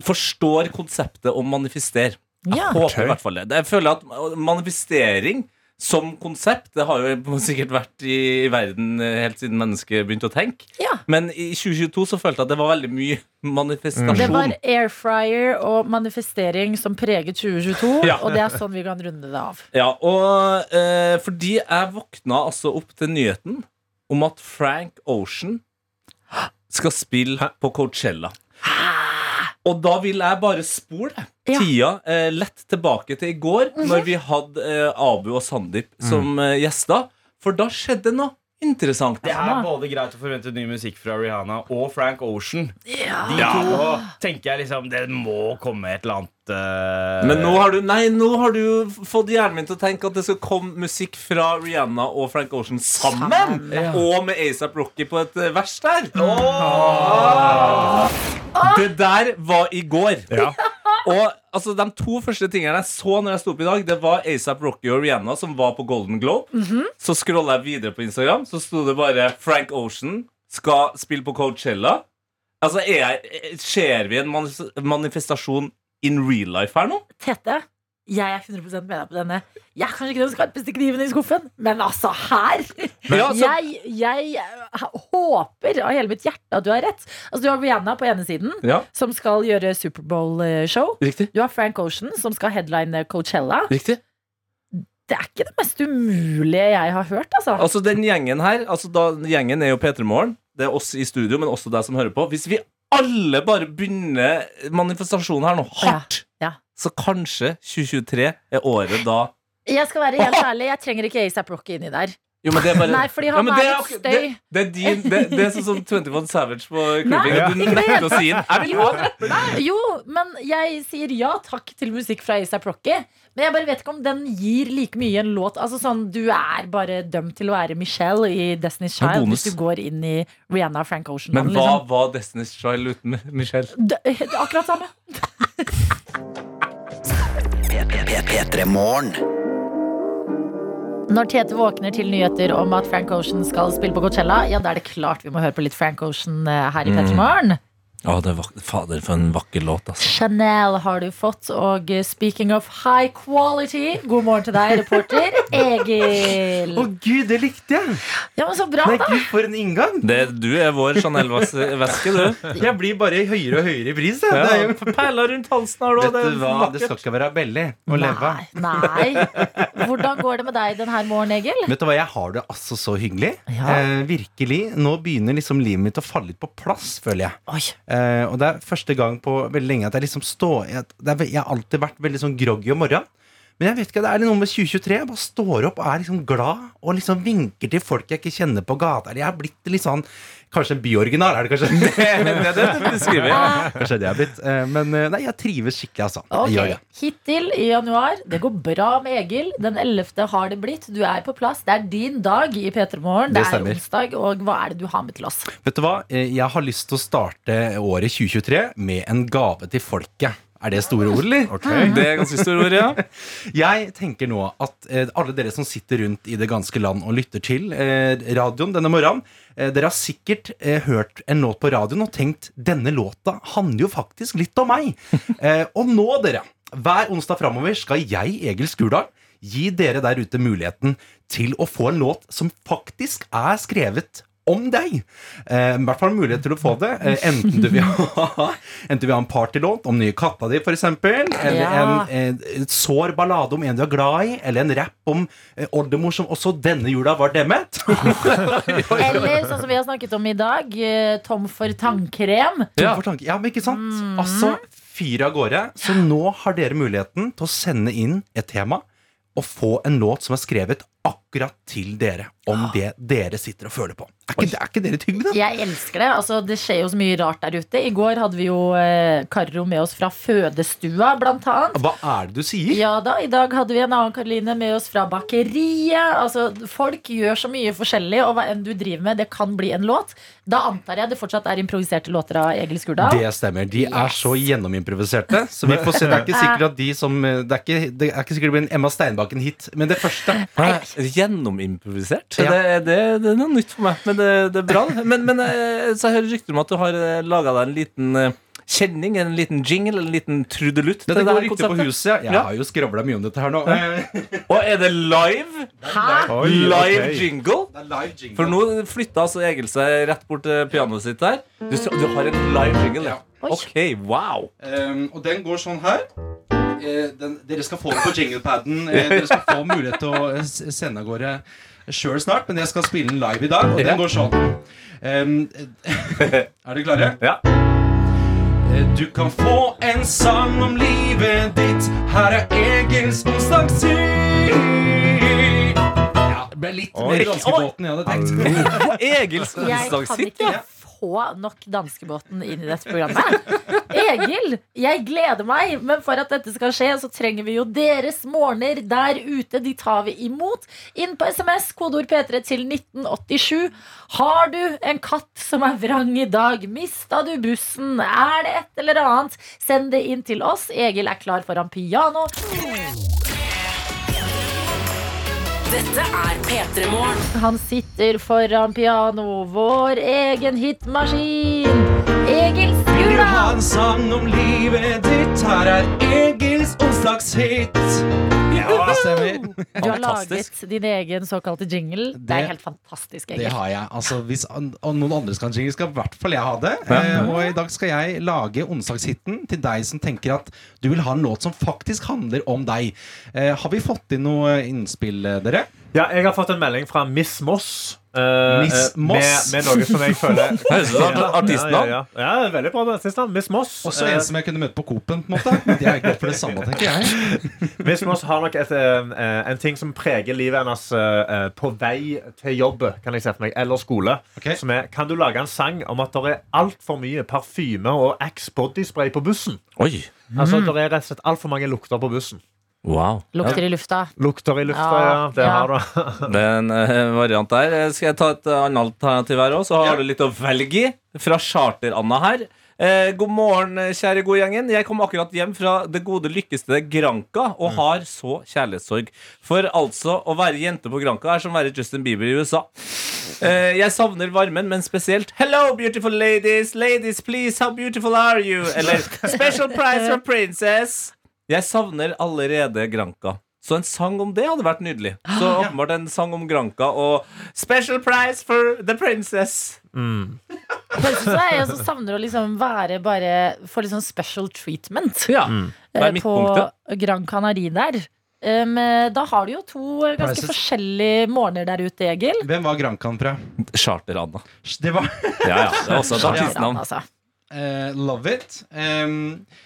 S4: forstår konseptet om manifester. Jeg
S2: Ja.
S4: håper i hvert fall det. Jeg føler at manifestering som konsept Det har jo sikkert vært i, i verden eh, helt siden mennesket begynte å tenke.
S2: Ja.
S4: Men i 2022 så følte jeg at det var veldig mye
S2: Det
S4: manifestasjon.
S2: var air fryer og manifestering som preget 2022,
S4: Ja.
S2: og det er sånn vi kan runde det av.
S4: Ja, og eh, fordi jeg våkna altså opp til nyheten om at Frank Ocean skal spille på Coachella. Og da vil jeg bare spole
S2: Ja.
S4: tida eh, lett tilbake til i går, når vi hadde eh, Abu og Sandeep som eh, gjester. For da skjedde noe interessant.
S11: Det er både greit å forvente ny musikk fra Rihanna og Frank Ocean. De to tenker jeg liksom Det må komme et eller annet eh,
S4: Men nå har du Nei, nå har du jo fått hjernen min til å tenke at det skal komme musikk fra Rihanna og Frank Ocean sammen! Og med ASAP Rocky på et eh, vers der. Åh! Det der var i går. Og altså, De to første tingene jeg så når jeg sto opp i dag, Det var ASAP Rocky og Rihanna som var på Golden Globe. Så scrolla jeg videre på Instagram, så sto det bare Frank Ocean skal spille på Coachella. Altså, er jeg, Ser vi en manif manifestasjon in real life her nå?
S2: Tete, jeg er 100 med deg på denne. Jeg er kanskje ikke den skarpeste kniven i skuffen, men altså her!
S4: Ja, så-
S2: Jeg, jeg håper av hele mitt hjerte at du har rett. Altså, du har Rihanna på ene siden,
S4: Ja,
S2: som skal gjøre Superbowl-show.
S4: riktig.
S2: Du har Frank Ocean, som skal headline eh, Coachella.
S4: Riktig.
S2: Det er ikke det mest umulige jeg har hørt, altså.
S4: Altså den gjengen her altså da, Gjengen er jo P3 Morgen. Det er oss i studio, men også deg som hører på. Hvis vi alle bare begynner manifestasjonen her nå hardt,
S2: Ja, ja.
S4: så kanskje 2023 er året da
S2: Jeg skal være helt ærlig, jeg trenger ikke ASAP Rocky inni der.
S4: jo, men det er bare,
S2: Nei, fordi han
S4: men
S2: er
S4: det
S2: litt
S4: akkurat-
S2: støy.
S4: Det, det, er din, det, det er sånn som 21 Savage på klubbing.
S2: Nei,
S4: at Du
S2: ikke det.
S4: nekter å si den. Jeg vil ha den.
S2: Jo, men jeg sier ja takk til musikk fra ASAP Rocky. Men jeg bare vet ikke om den gir like mye en låt. Altså sånn, Du er bare dømt til å være Michelle i Destiny's
S4: Men
S2: Child
S4: bonus.
S2: hvis du går inn i Rihanna og Frank Ocean.
S4: Men
S2: han,
S4: hva
S2: liksom.
S4: var Destiny's Child uten Mi- Michelle?
S2: Det- det er Akkurat samme. Når Tete våkner til nyheter om at Frank Ocean skal spille på Coachella, ja, da er det klart vi må høre på litt Frank Ocean eh, her i Petter Morgen.
S4: Å, det er vak- Fader, for en vakker låt, altså.
S2: Chanel har du fått, og eh, speaking of high quality God morgen til deg, reporter Egil.
S11: Å gud, det likte jeg!
S2: Ja, men så bra,
S11: Nei,
S2: da.
S11: gud, for en inngang!
S4: Det, du er vår Chanel-veske, du.
S11: Jeg blir bare høyere og høyere i pris. jeg. Det er jo
S4: Perler rundt halsen her nå.
S11: Vet du hva, det skal ikke være belly å leve av.
S2: Nei, nei. Hvordan går det med deg denne morgenen, Egil?
S11: Vet du hva, jeg har det altså så hyggelig.
S2: Ja.
S11: Eh, virkelig. Nå begynner liksom livet mitt å falle litt på plass, føler jeg.
S2: Oi.
S11: Eh, og det er første gang på veldig lenge at jeg liksom står Jeg, det er, ve- jeg har alltid vært veldig sånn groggy om morgenen. Men jeg vet ikke, det er noe med 2023. Jeg bare står opp og er liksom glad og liksom vinker til folk jeg ikke kjenner på gata. Eller jeg er blitt litt sånn Kanskje en byoriginal, er det kanskje? det, det, det, det beskriver jeg. Kanskje det jeg er blitt. Eh, Men eh, nei, jeg trives skikkelig, altså. Jeg
S2: Ok,
S11: gjør det.
S2: Hittil i januar. Det går bra med Egil. Den 11. har det blitt. Du er på plass. Det er din dag i P3 Morgen. Det,
S11: Det
S2: er
S11: stemmer.
S2: onsdag. Og hva er det du har med til oss?
S11: Vet du hva? Eh, Jeg har lyst til å starte året 2023 med en gave til folket. Er det store ord, eller?
S4: Det er ganske store ord, ja.
S11: Jeg tenker nå at eh, alle dere som sitter rundt i det ganske land og lytter til eh, radioen denne morgenen, eh, dere har sikkert eh, hørt en låt på radioen og tenkt denne låta handler jo faktisk litt om meg. Eh, og nå, dere, hver onsdag framover skal jeg, Egil Skurdal, gi dere der ute muligheten til å få en låt som faktisk er skrevet om deg. Eh, I hvert fall mulighet til å få det. Eh, enten du vil ha, enten du vil ha en partylåt om nye katta di, f.eks., eller
S2: Ja.
S11: en eh, sår ballade om en du er glad i, eller en rapp om eh, oldemor som også denne jula var demmet.
S2: Eller sånn som vi har snakket om i dag, eh, tom for tannkrem.
S11: ja. ja, men ikke sant? Altså, fyr av gårde. Så nå har dere muligheten til å sende inn et tema og få en låt som er skrevet akkurat til dere om det dere sitter og føler på. Er ikke, er ikke dere litt hyggelig, da?
S2: Jeg elsker det. altså Det skjer jo så mye rart der ute. I går hadde vi jo eh, Karro med oss fra fødestua, blant annet.
S11: Hva er det du sier?
S2: Ja da, I dag hadde vi en annen Karoline med oss fra bakeriet. Altså, Folk gjør så mye forskjellig, og hva enn du driver med, det kan bli en låt. Da antar jeg det fortsatt er improviserte låter av Egil Skurdal.
S11: Det stemmer. De er så gjennomimproviserte. Så vi får se. Det er ikke sikkert at de som eh, Det er ikke, det er ikke sikkert det blir en Emma Steinbakken-hit, men det første
S4: Gjennomimprovisert?
S11: Ja.
S4: Det, det, det er noe nytt for meg, men det, det er bra. det. Men, men eh, så jeg hører rykter om at du har laga deg en liten eh, kjenning, en liten jingle, en liten trudelutt. til
S11: Det
S4: her
S11: går riktig på
S4: konseptet.
S11: huset. Jeg
S4: Ja.
S11: har jo skravla mye om dette her nå.
S4: Og er det live?
S6: Oi,
S4: live
S6: ok.
S4: jingle? For
S11: For nå
S4: nå flytta altså Egil seg rett bort til pianoet sitt der. Du, s- du har en live jingle, ja.
S2: Oi.
S4: Ok, wow.
S11: Ehm, og den går sånn her. Eh, den, dere skal få den på jinglepaden. Eh, dere skal få mulighet til å eh, s- sende av gårde sjøl snart, men jeg skal spille den live i dag, og den går sånn. Ehm, eh, er dere klare?
S6: Ja.
S11: Eh, Du kan få en sang om livet ditt. Her er Egils onsdagstid. Ja, det ble litt
S6: Oi.
S11: mer danskebåten enn jeg hadde tenkt.
S4: Egils
S2: Jeg kan
S4: onsdagshit.
S11: ja.
S2: ikke få nok danskebåten inn i dette programmet. Egil, jeg gleder meg, men for at dette skal skje, så trenger vi jo deres morgener der ute. De tar vi imot. Inn på SMS, kodeord P3 til 1987. Har du en katt som er vrang i dag? Mista du bussen? Er det et eller annet? Send det inn til oss. Egil er klar foran piano.
S1: Dette er P3 Morgen.
S2: Han sitter foran piano, vår egen hitmaskin. Egil
S11: Vil du ha
S2: Skurdal!
S11: en sang om livet ditt? Her er Egils onsdagshit. Ja, det stemmer.
S2: Du har
S4: Fantastisk.
S2: laget din egen såkalte jingle. Det, er
S11: Det-
S2: helt fantastisk.
S11: Det
S2: Egil.
S11: har jeg. Altså, hvis an og noen andre skal ha jingle, skal i hvert fall jeg ha det. Eh, og i dag skal jeg lage onsdagshiten til deg som tenker at du vil ha en låt som faktisk handler om deg. Eh, har vi fått inn noe innspill, eh, dere?
S6: Ja, jeg har fått en melding fra Miss Moss. eh,
S11: Miss
S6: eh,
S11: Moss?
S6: Med, med noe som jeg føler
S4: Høres ut som
S6: Ja,
S4: artistnavn.
S6: ja, ja. ja, veldig bra artistnavn. Miss Moss.
S11: Også
S6: Eh,
S11: en som jeg kunne møte på Coop-en, på en måte. Men de er ikke for det samme, tenker jeg.
S6: eh, Miss Moss har nok et, eh, en ting som preger livet hennes eh, eh, på vei til jobb kan jeg se for meg, eller skole.
S11: Ok.
S6: Som er Kan du lage en sang om at det er altfor mye parfyme og Axe bodyspray på bussen?
S4: Oi.
S6: Altså, Det er rett og slett altfor mange lukter på bussen.
S4: Wow.
S2: Lukter i lufta.
S6: Lukter i lufta, ja.
S2: Ja,
S6: det
S2: ja.
S6: har du.
S4: Det er en eh, variant der. Eh, Skal jeg ta et eh, annet alternativ her òg, så har
S11: Ja.
S4: du litt å velge i. Fra Charter-Anna her. Eh, god morgen, eh, kjære gode gjengen. Jeg kom akkurat hjem fra det gode lykkestedet Granca og har så kjærlighetssorg. For altså, å være jente på Granca er som å være Justin Bieber i USA. Eh, jeg savner varmen, men spesielt Hello, beautiful ladies. Ladies, please, how beautiful are you? Eller Special prize for princess. Jeg savner allerede Granca. Så en sang om det hadde vært nydelig. Så åpenbart en sang om Granca og Special prize for the princess.
S6: Mm.
S2: Høres ut som jeg også savner å liksom være bare Få litt sånn special treatment
S4: Ja. Det er
S2: eh, på
S4: midtpunktet.
S2: Gran Canari der. Um, eh, da har du jo to eh, ganske
S11: Prices.
S2: forskjellige morgener der ute, Egil.
S11: Hvem var Grankan fra?
S4: Charter-Anna.
S11: Det var
S4: Ja, ja. Det er også et artistnavn.
S2: altså.
S11: Eh, love it. Em,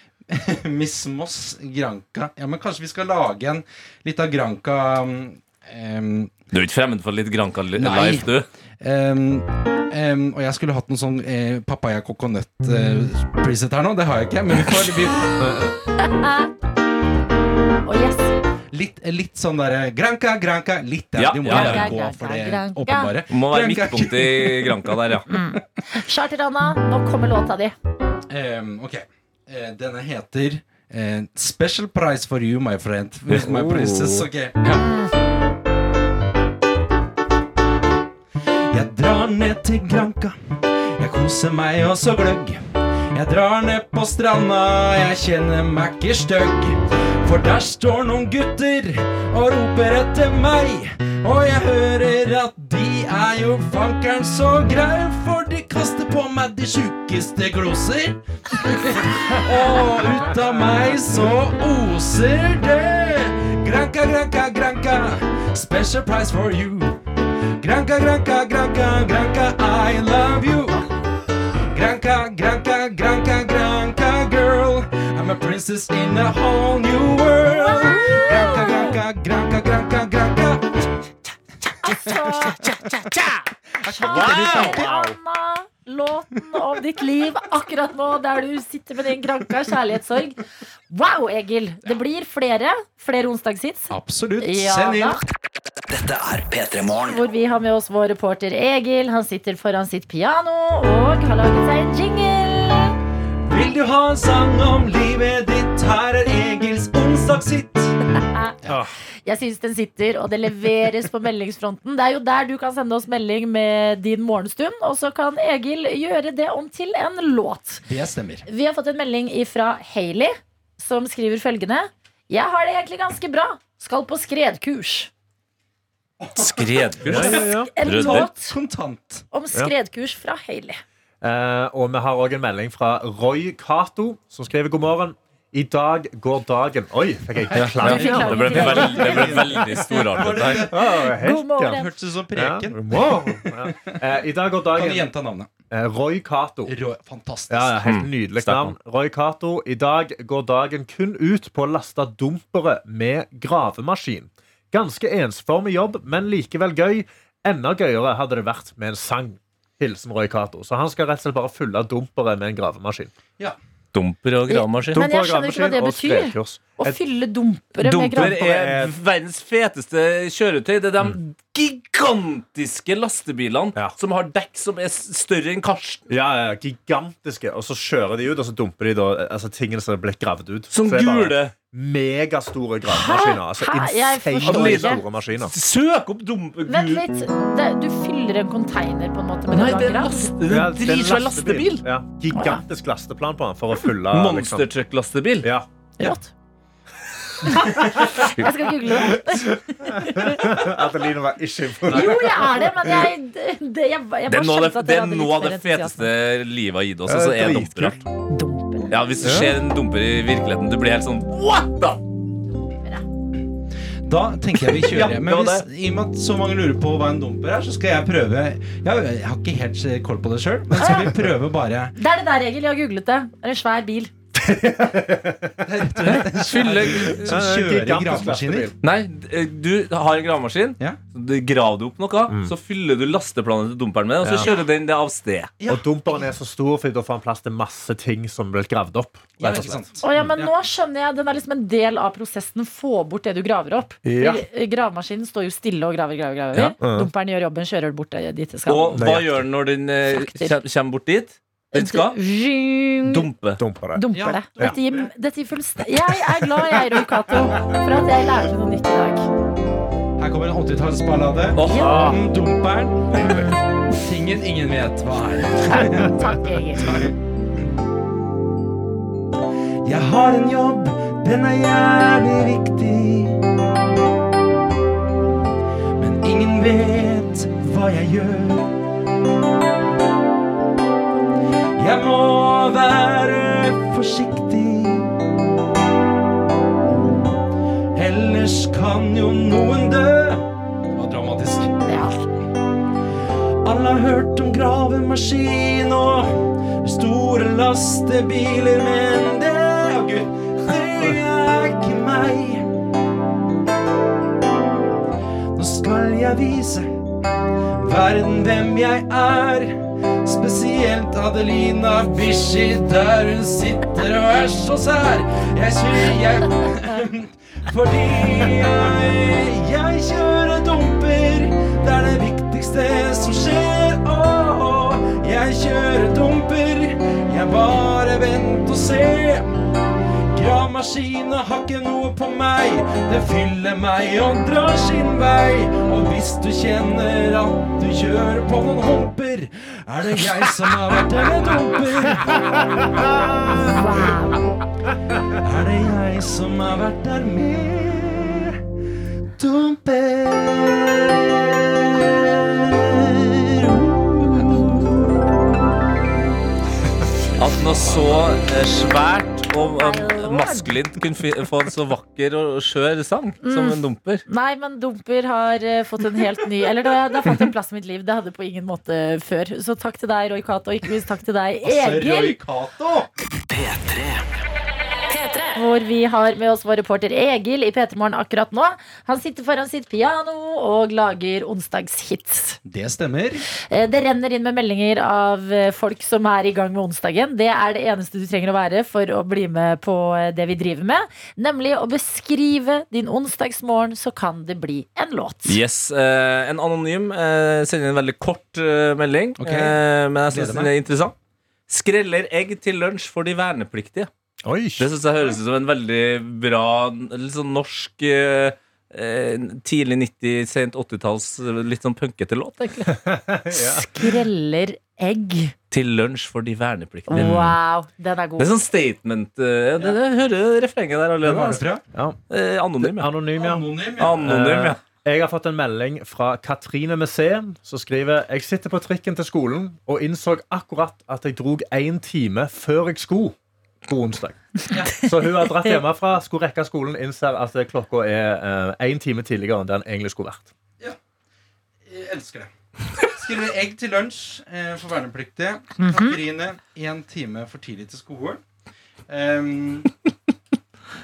S11: Miss Moss, Granka Ja, men kanskje vi skal lage en litt av Granka um, em,
S4: Du er ikke fremmed for litt Granca li-
S11: Nei.
S4: live, du?
S11: em, em, Og jeg skulle hatt noen sånn eh, papaya coconut eh, preset her nå. Det har jeg ikke, men vi får vi,
S2: Og yes,
S11: litt, litt sånn derre Granka, Granka Litt der.
S4: Ja,
S11: du må
S4: ja, ja.
S11: bare gå for det
S2: Granca, Granca.
S11: åpenbare.
S4: Må være
S11: Granca.
S4: midtpunkt i Granca der, ja.
S2: Charter-Anna, nå kommer låta di.
S11: Em, ok. Eh, denne heter eh, Special price for you, my friend. With my
S4: Oh.
S11: princess. Ok. Ja. Jeg drar ned til Granka. Jeg koser meg og så gløgg. Jeg drar ned på stranda, jeg kjenner meg ikke stygg. For der står noen gutter og roper etter meg. Og jeg hører at de er jo fankeren så greie, for de kaster på meg de sjukeste gloser. Og ut av meg så oser det. Granka, granka, granka. Special price for you. Granka, granka, granka, granka, I love you. Granka, granka, granka, granka, girl. I'm a princess in a whole new world. Granka, granka, granka, granka, granka.
S2: Kjære Anna, låten om ditt liv akkurat nå, der du sitter med din kranka kjærlighetssorg. Wow, Egil! Det blir flere. Flere onsdagshits.
S11: Absolutt.
S2: Ja
S11: Send inn.
S2: da. Hvor vi har med oss vår reporter Egil. Han sitter foran sitt piano og har laget seg en jingle.
S11: Vil du ha en sang om livet ditt? Her er Egils onsdagshit.
S2: Jeg syns den sitter, og det leveres på meldingsfronten. Det er jo der du kan sende oss melding med din morgenstund, og så kan Egil gjøre det om til en låt.
S12: Det stemmer.
S2: Vi har fått en melding fra Hailey, som skriver følgende. Jeg har det egentlig ganske bra. Skal på skredkurs.
S4: Skredkurs.
S2: En
S4: Rødder.
S2: låt
S12: Kontant.
S2: om skredkurs fra Hailey.
S6: Eh, og vi har òg en melding fra Roy Cato, som skriver god morgen. I dag går dagen Oi, fikk jeg ikke
S2: Du fikk
S6: klang?
S2: klang.
S4: Det ble veldig, det ble veldig storartet der.
S2: God morgen.
S11: Hørtes ut som
S6: Ja.
S11: preken.
S6: Wow. Ja. Eh, I dag
S11: Kan
S6: går
S11: du
S6: dagen
S11: gjenta navnet?
S6: eh, Roy Cato.
S12: Rå, fantastisk.
S6: Ja, ja, helt
S4: Mm.
S6: nydelig
S4: Sterkt
S6: navn. Roy Cato. I dag går dagen kun ut på å laste dumpere med gravemaskin. Ganske ensformig jobb, men likevel gøy. Enda gøyere hadde det vært med en sang. Hilsen Roy Cato. Så han skal rett og slett bare fylle dumpere med en gravemaskin.
S4: Dumper og gravemaskin.
S2: Men jeg skjønner ikke hva det
S6: Dumper,
S2: betyr.
S6: gravemaskin og skredkurs.
S2: Å fylle dumpere med
S4: Dumper
S2: granpålegg.
S4: er verdens feteste kjøretøy. Det er de gigantiske lastebilene
S6: Ja.
S4: som har dekk som er s- større enn Karsten.
S6: Ja, ja, ja, gigantiske. Og så kjører de ut, og så dumper de da, altså, tingene som er blitt gravd ut.
S4: Som
S6: Så det er bare
S4: gule.
S6: Megastore gravemaskiner. Altså,
S2: Hæ? Jeg forstår
S6: insane
S4: ikke.
S6: store maskiner.
S4: Søk opp dumper
S2: Vent
S4: gul-
S2: litt. Det, du fyller en container på en måte med
S4: Nei,
S2: det
S4: det er
S2: du
S4: en
S2: har gravd?
S4: laste, det er
S6: Ja,
S4: en
S6: det er en
S4: dritsvær lastebil.
S6: Ja, gigantisk lasteplan på den for å fylle liksom.
S4: Monstertruck-lastebil.
S6: Ja.
S2: Rått. jeg skal google det.
S6: Adeline var ikke imponert.
S2: Jo, jeg er det, men jeg, det, jeg, jeg bare
S4: Det er noe av
S2: skjønte
S4: det,
S2: at
S4: det,
S2: jeg
S4: er
S2: hadde
S4: noe av
S2: litt
S4: det
S2: mer
S4: feteste
S2: entusiasme.
S4: livet har gitt oss.
S6: Ja,
S4: Altså, er
S6: dritkult.
S4: dumper.
S2: Dumper.
S4: Ja, Hvis det skjer en dumper i virkeligheten, du blir helt sånn What the?
S11: Da tenker jeg vi
S4: Ja,
S11: kjører.
S4: det
S11: Men
S4: var
S11: hvis, i og med at så mange lurer på hva en dumper er, så skal jeg prøve Jeg, jeg har ikke helt eh, koll på det sjøl, men skal vi prøve bare
S2: Det er det der, Egil. Jeg har googlet det. Det er en svær bil.
S4: Fylle
S11: Som kjører gravemaskiner?
S4: Nei, d- eh, du har en gravemaskin.
S11: Ja.
S4: Du Grav du opp noe, så fyller du lasteplanet til dumperen med det, og så kjører den det av sted.
S6: Og dumperen er så stor, for da får han plass til masse ting som blir gravd opp.
S11: Ja,
S6: rett og
S11: ikke
S6: slett.
S11: sant.
S2: Å, ja, men nå skjønner jeg Den er liksom en del av prosessen. Få bort det du graver opp.
S6: Ja.
S2: I- eh, Gravemaskinen står jo stille og graver, graver, graver.
S4: Ja.
S2: Dumperen gjør jobben, kjører bort det dit det skal.
S4: Og hva gjør den når den eh,
S2: Frakter.
S4: kjem- kommer bort dit? Den skal
S2: Zjing.
S4: dumpe.
S6: Dumper det.
S2: Dumper
S11: Ja.
S2: det. Dette gir, dette gir fullst- Jeg er glad jeg, Roy Cato, for at jeg lærte noe nytt i dag.
S11: Her kommer en 80-tallsballade.
S4: Åh,
S2: Ja.
S11: Om dumperen. Tingen ingen vet hva er.
S2: Takk, Egil.
S11: Jeg har en jobb, den er jævlig viktig. Men ingen vet hva jeg gjør. Jeg må være forsiktig. Ellers kan jo noen dø. Det var dramatisk.
S2: Ja.
S11: Alle har hørt om gravemaskin og store lastebiler, men det Å, Gud, det er ikke meg. Nå skal jeg vise verden hvem jeg er. Spesielt Adelina Bishi, der hun sitter og er så sær. Jeg kjører jeg Fordi jeg, jeg kjører dumper. Det er det viktigste som skjer. Åh, jeg kjører dumper. Jeg bare vent og se. Gravemaskina har ikke noe på meg. Den fyller meg og drar sin vei. Og hvis du kjenner at du kjører på noen humper, er det jeg som har vært en dumper. Er det jeg som har vært der med dumper?
S4: At noe så eh, svært og eh, maskulint kunne fi- få en så vakker og skjør sang som en dumper.
S2: Nei, men dumper har eh, fått en helt ny Eller det har, det har fått en plass i mitt liv. Det hadde på ingen måte før. Så takk til deg, Roy Cato, og ikke minst takk til deg, Egil.
S11: Kato!
S1: P3
S2: hvor vi har med oss vår reporter Egil i P3 Morgen akkurat nå. Han sitter foran sitt piano og lager onsdagshits.
S11: Det stemmer.
S2: Eh, Det renner inn med meldinger av eh, folk som er i gang med onsdagen. Det er det eneste du trenger å være for å bli med på eh, det vi driver med. Nemlig å beskrive din onsdagsmorgen, så kan det bli en låt.
S4: Yes, eh, En anonym eh, sender en veldig kort eh, melding,
S11: Ok.
S4: eh, men jeg syns
S11: Gleder
S4: den er interessant. Skreller egg til lunsj for de vernepliktige.
S11: Oi.
S4: Det synes jeg høres ut som en veldig bra, litt sånn norsk eh, eh, Tidlig 90, sent 80-talls, eh, litt sånn punkete låt, egentlig.
S2: Skreller egg.
S4: Til lunsj for de vernepliktige.
S2: Wow, den er
S4: Det
S2: god.
S4: er sånn statement. eh, det, det, jeg hører refrenget der
S6: Hvem
S4: allerede.
S6: var det
S4: Altså.
S11: fra?
S4: Eh, anonym, ja.
S6: Anonym, ja.
S4: Eh, Anonym, ja.
S6: Eh, Jeg har fått en melding fra Katrine Museum, som skriver Jeg sitter på trikken til skolen og innså akkurat at jeg drog én time før jeg skulle på onsdag. Så hun har dratt hjemmefra, skulle rekke skolen, innser at klokka er én time tidligere enn den egentlig skulle vært.
S11: Jeg elsker det. Skriver egg til lunsj eh, for vernepliktige. Katrine én time for tidlig til skolen. Ehm,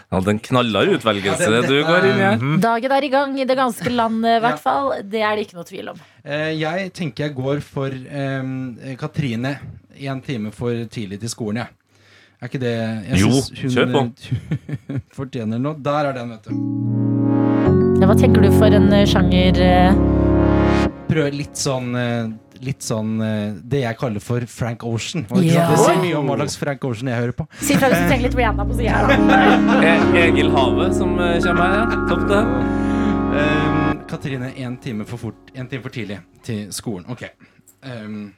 S4: ja. Den knalla utvelgelse
S11: Ja, det-
S4: du
S11: dette
S4: går inn i her.
S2: Dagen er i gang i det ganske land, i
S11: Ja.
S2: hvert fall. Det er det ikke noe tvil om.
S11: eh, jeg tenker jeg går for ehm, Katrine én time for tidlig til skolen, jeg. Er ikke det jeg
S4: Jo,
S11: synes
S4: kjør
S11: Hun fortjener noe. Der er den, vet du.
S2: Ja, Hva tenker du for en eh, sjanger? eh?
S11: Prøv litt sånn eh, Litt sånn eh, det jeg kaller for Frank Ocean. Og ikke
S2: Ja.
S11: sant? Det sier mye om hva slags Frank Ocean jeg hører på.
S2: Si fra hvis du trenger litt Rihanna på sida her, da.
S4: E- Egil Have som eh, kommer her. ja. Topp det.
S11: Ehm, Katrine, én time, for fort, en time for tidlig til skolen. Ok. Ehm,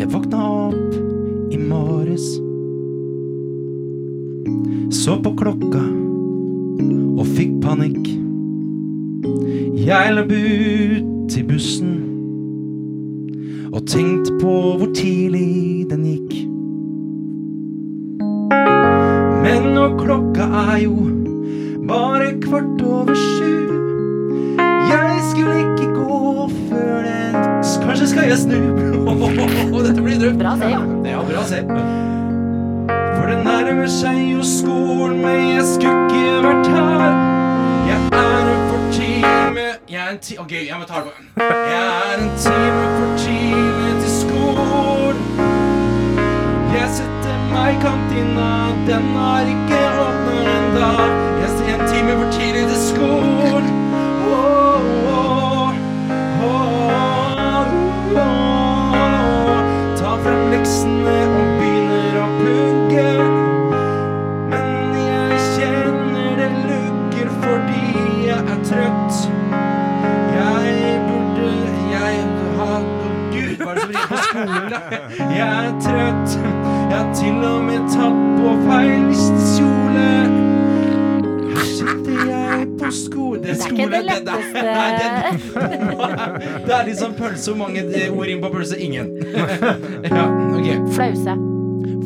S11: Jeg våkna opp i morges. Så på klokka og fikk panikk. Jeg løp ut til bussen og tenkte på hvor tidlig den gikk. Men når klokka er jo bare kvart over sju Jeg skulle ikke gå før den Kanskje skal jeg snu? Dette blir drømt.
S2: Bra save.
S11: Det var bra save. For det nærmer seg jo skolen, men jeg skulle ikke vært her. Jeg er en for time Jeg er en ti... Ok, jeg må ta det på. Jeg er en time for time til skolen. Jeg setter meg i kantina, den har ikke åpnet enda. Jeg ser en time for tidlig til skolen. Åh, åh, åh, åh. Ta frem leksene og begynner å pugge. Men jeg kjenner det lugger fordi jeg er trøtt. Jeg burde Jeg har Å, Gud, hva er det som ringer på skolen, da? Jeg er trøtt. Jeg har til og med tatt på feil kjole. Her sitter jeg på skolen
S2: Det er ikke det letteste.
S11: Nei, det, det er liksom pølse. Hvor mange eh, ord inn på pølse? Ingen. Ja, ok
S2: Flause.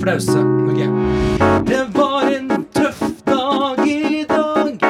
S11: flause. Ok. Det var en tøff dag i dag.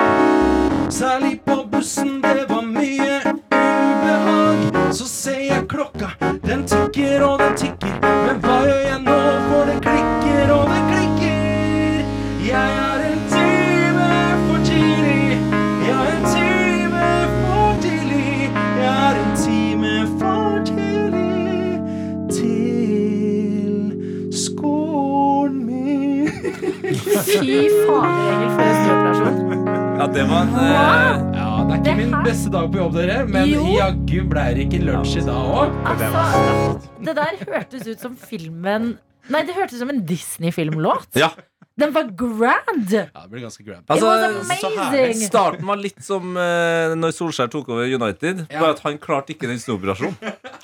S11: Særlig på bussen, det var mye ubehag. Så ser jeg klokka, den tikker og den tikker. Men hva gjør jeg nå, for det klikker og det klikker. Jeg er en time for tidlig. Jeg er en time for tidlig. Jeg er en time for tidlig til skolen min.
S2: Fy fader, Egil, for en snuoperasjon.
S4: Ja, det var en eh,
S11: Ja, det er ikke
S2: Det
S11: min
S2: her-
S11: beste dag på jobb, dere, men
S2: Jo.
S11: jaggu blei det ikke lunsj i dag òg.
S2: Altså, det der hørtes ut som filmen Nei, det hørtes ut som en Disney-filmlåt.
S4: Ja. altså,
S2: Den var grand!
S11: Ja, det blir ganske grand.
S2: It was
S4: så herlig.
S2: amazing.
S4: starten var litt som eh, når Solskjær tok over United.
S11: Ja.
S4: Bare at han klarte ikke den snuoperasjonen.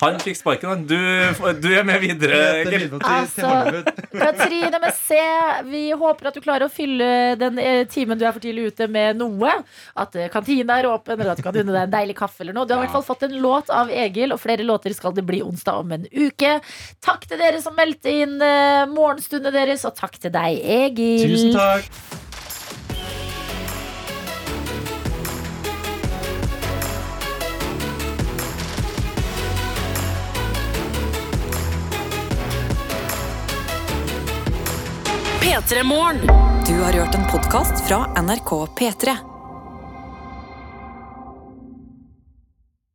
S4: Han fikk sparken, han. Du, du er med videre, Egil.
S2: Altså- Katrine med C, vi håper at du klarer å fylle den eh, timen du er for tidlig ute med noe. At eh, kantina er åpen, eller at du kan unne deg en deilig kaffe eller noe. Du har i hvert fall fått en låt av Egil, og flere låter skal det bli onsdag om en uke. Takk til dere som meldte inn eh, morgenstundene deres, og takk til deg, Egil.
S11: Tusen takk.
S1: P3 P3 Morgen.
S12: Du har hørt en podkast fra NRK P3.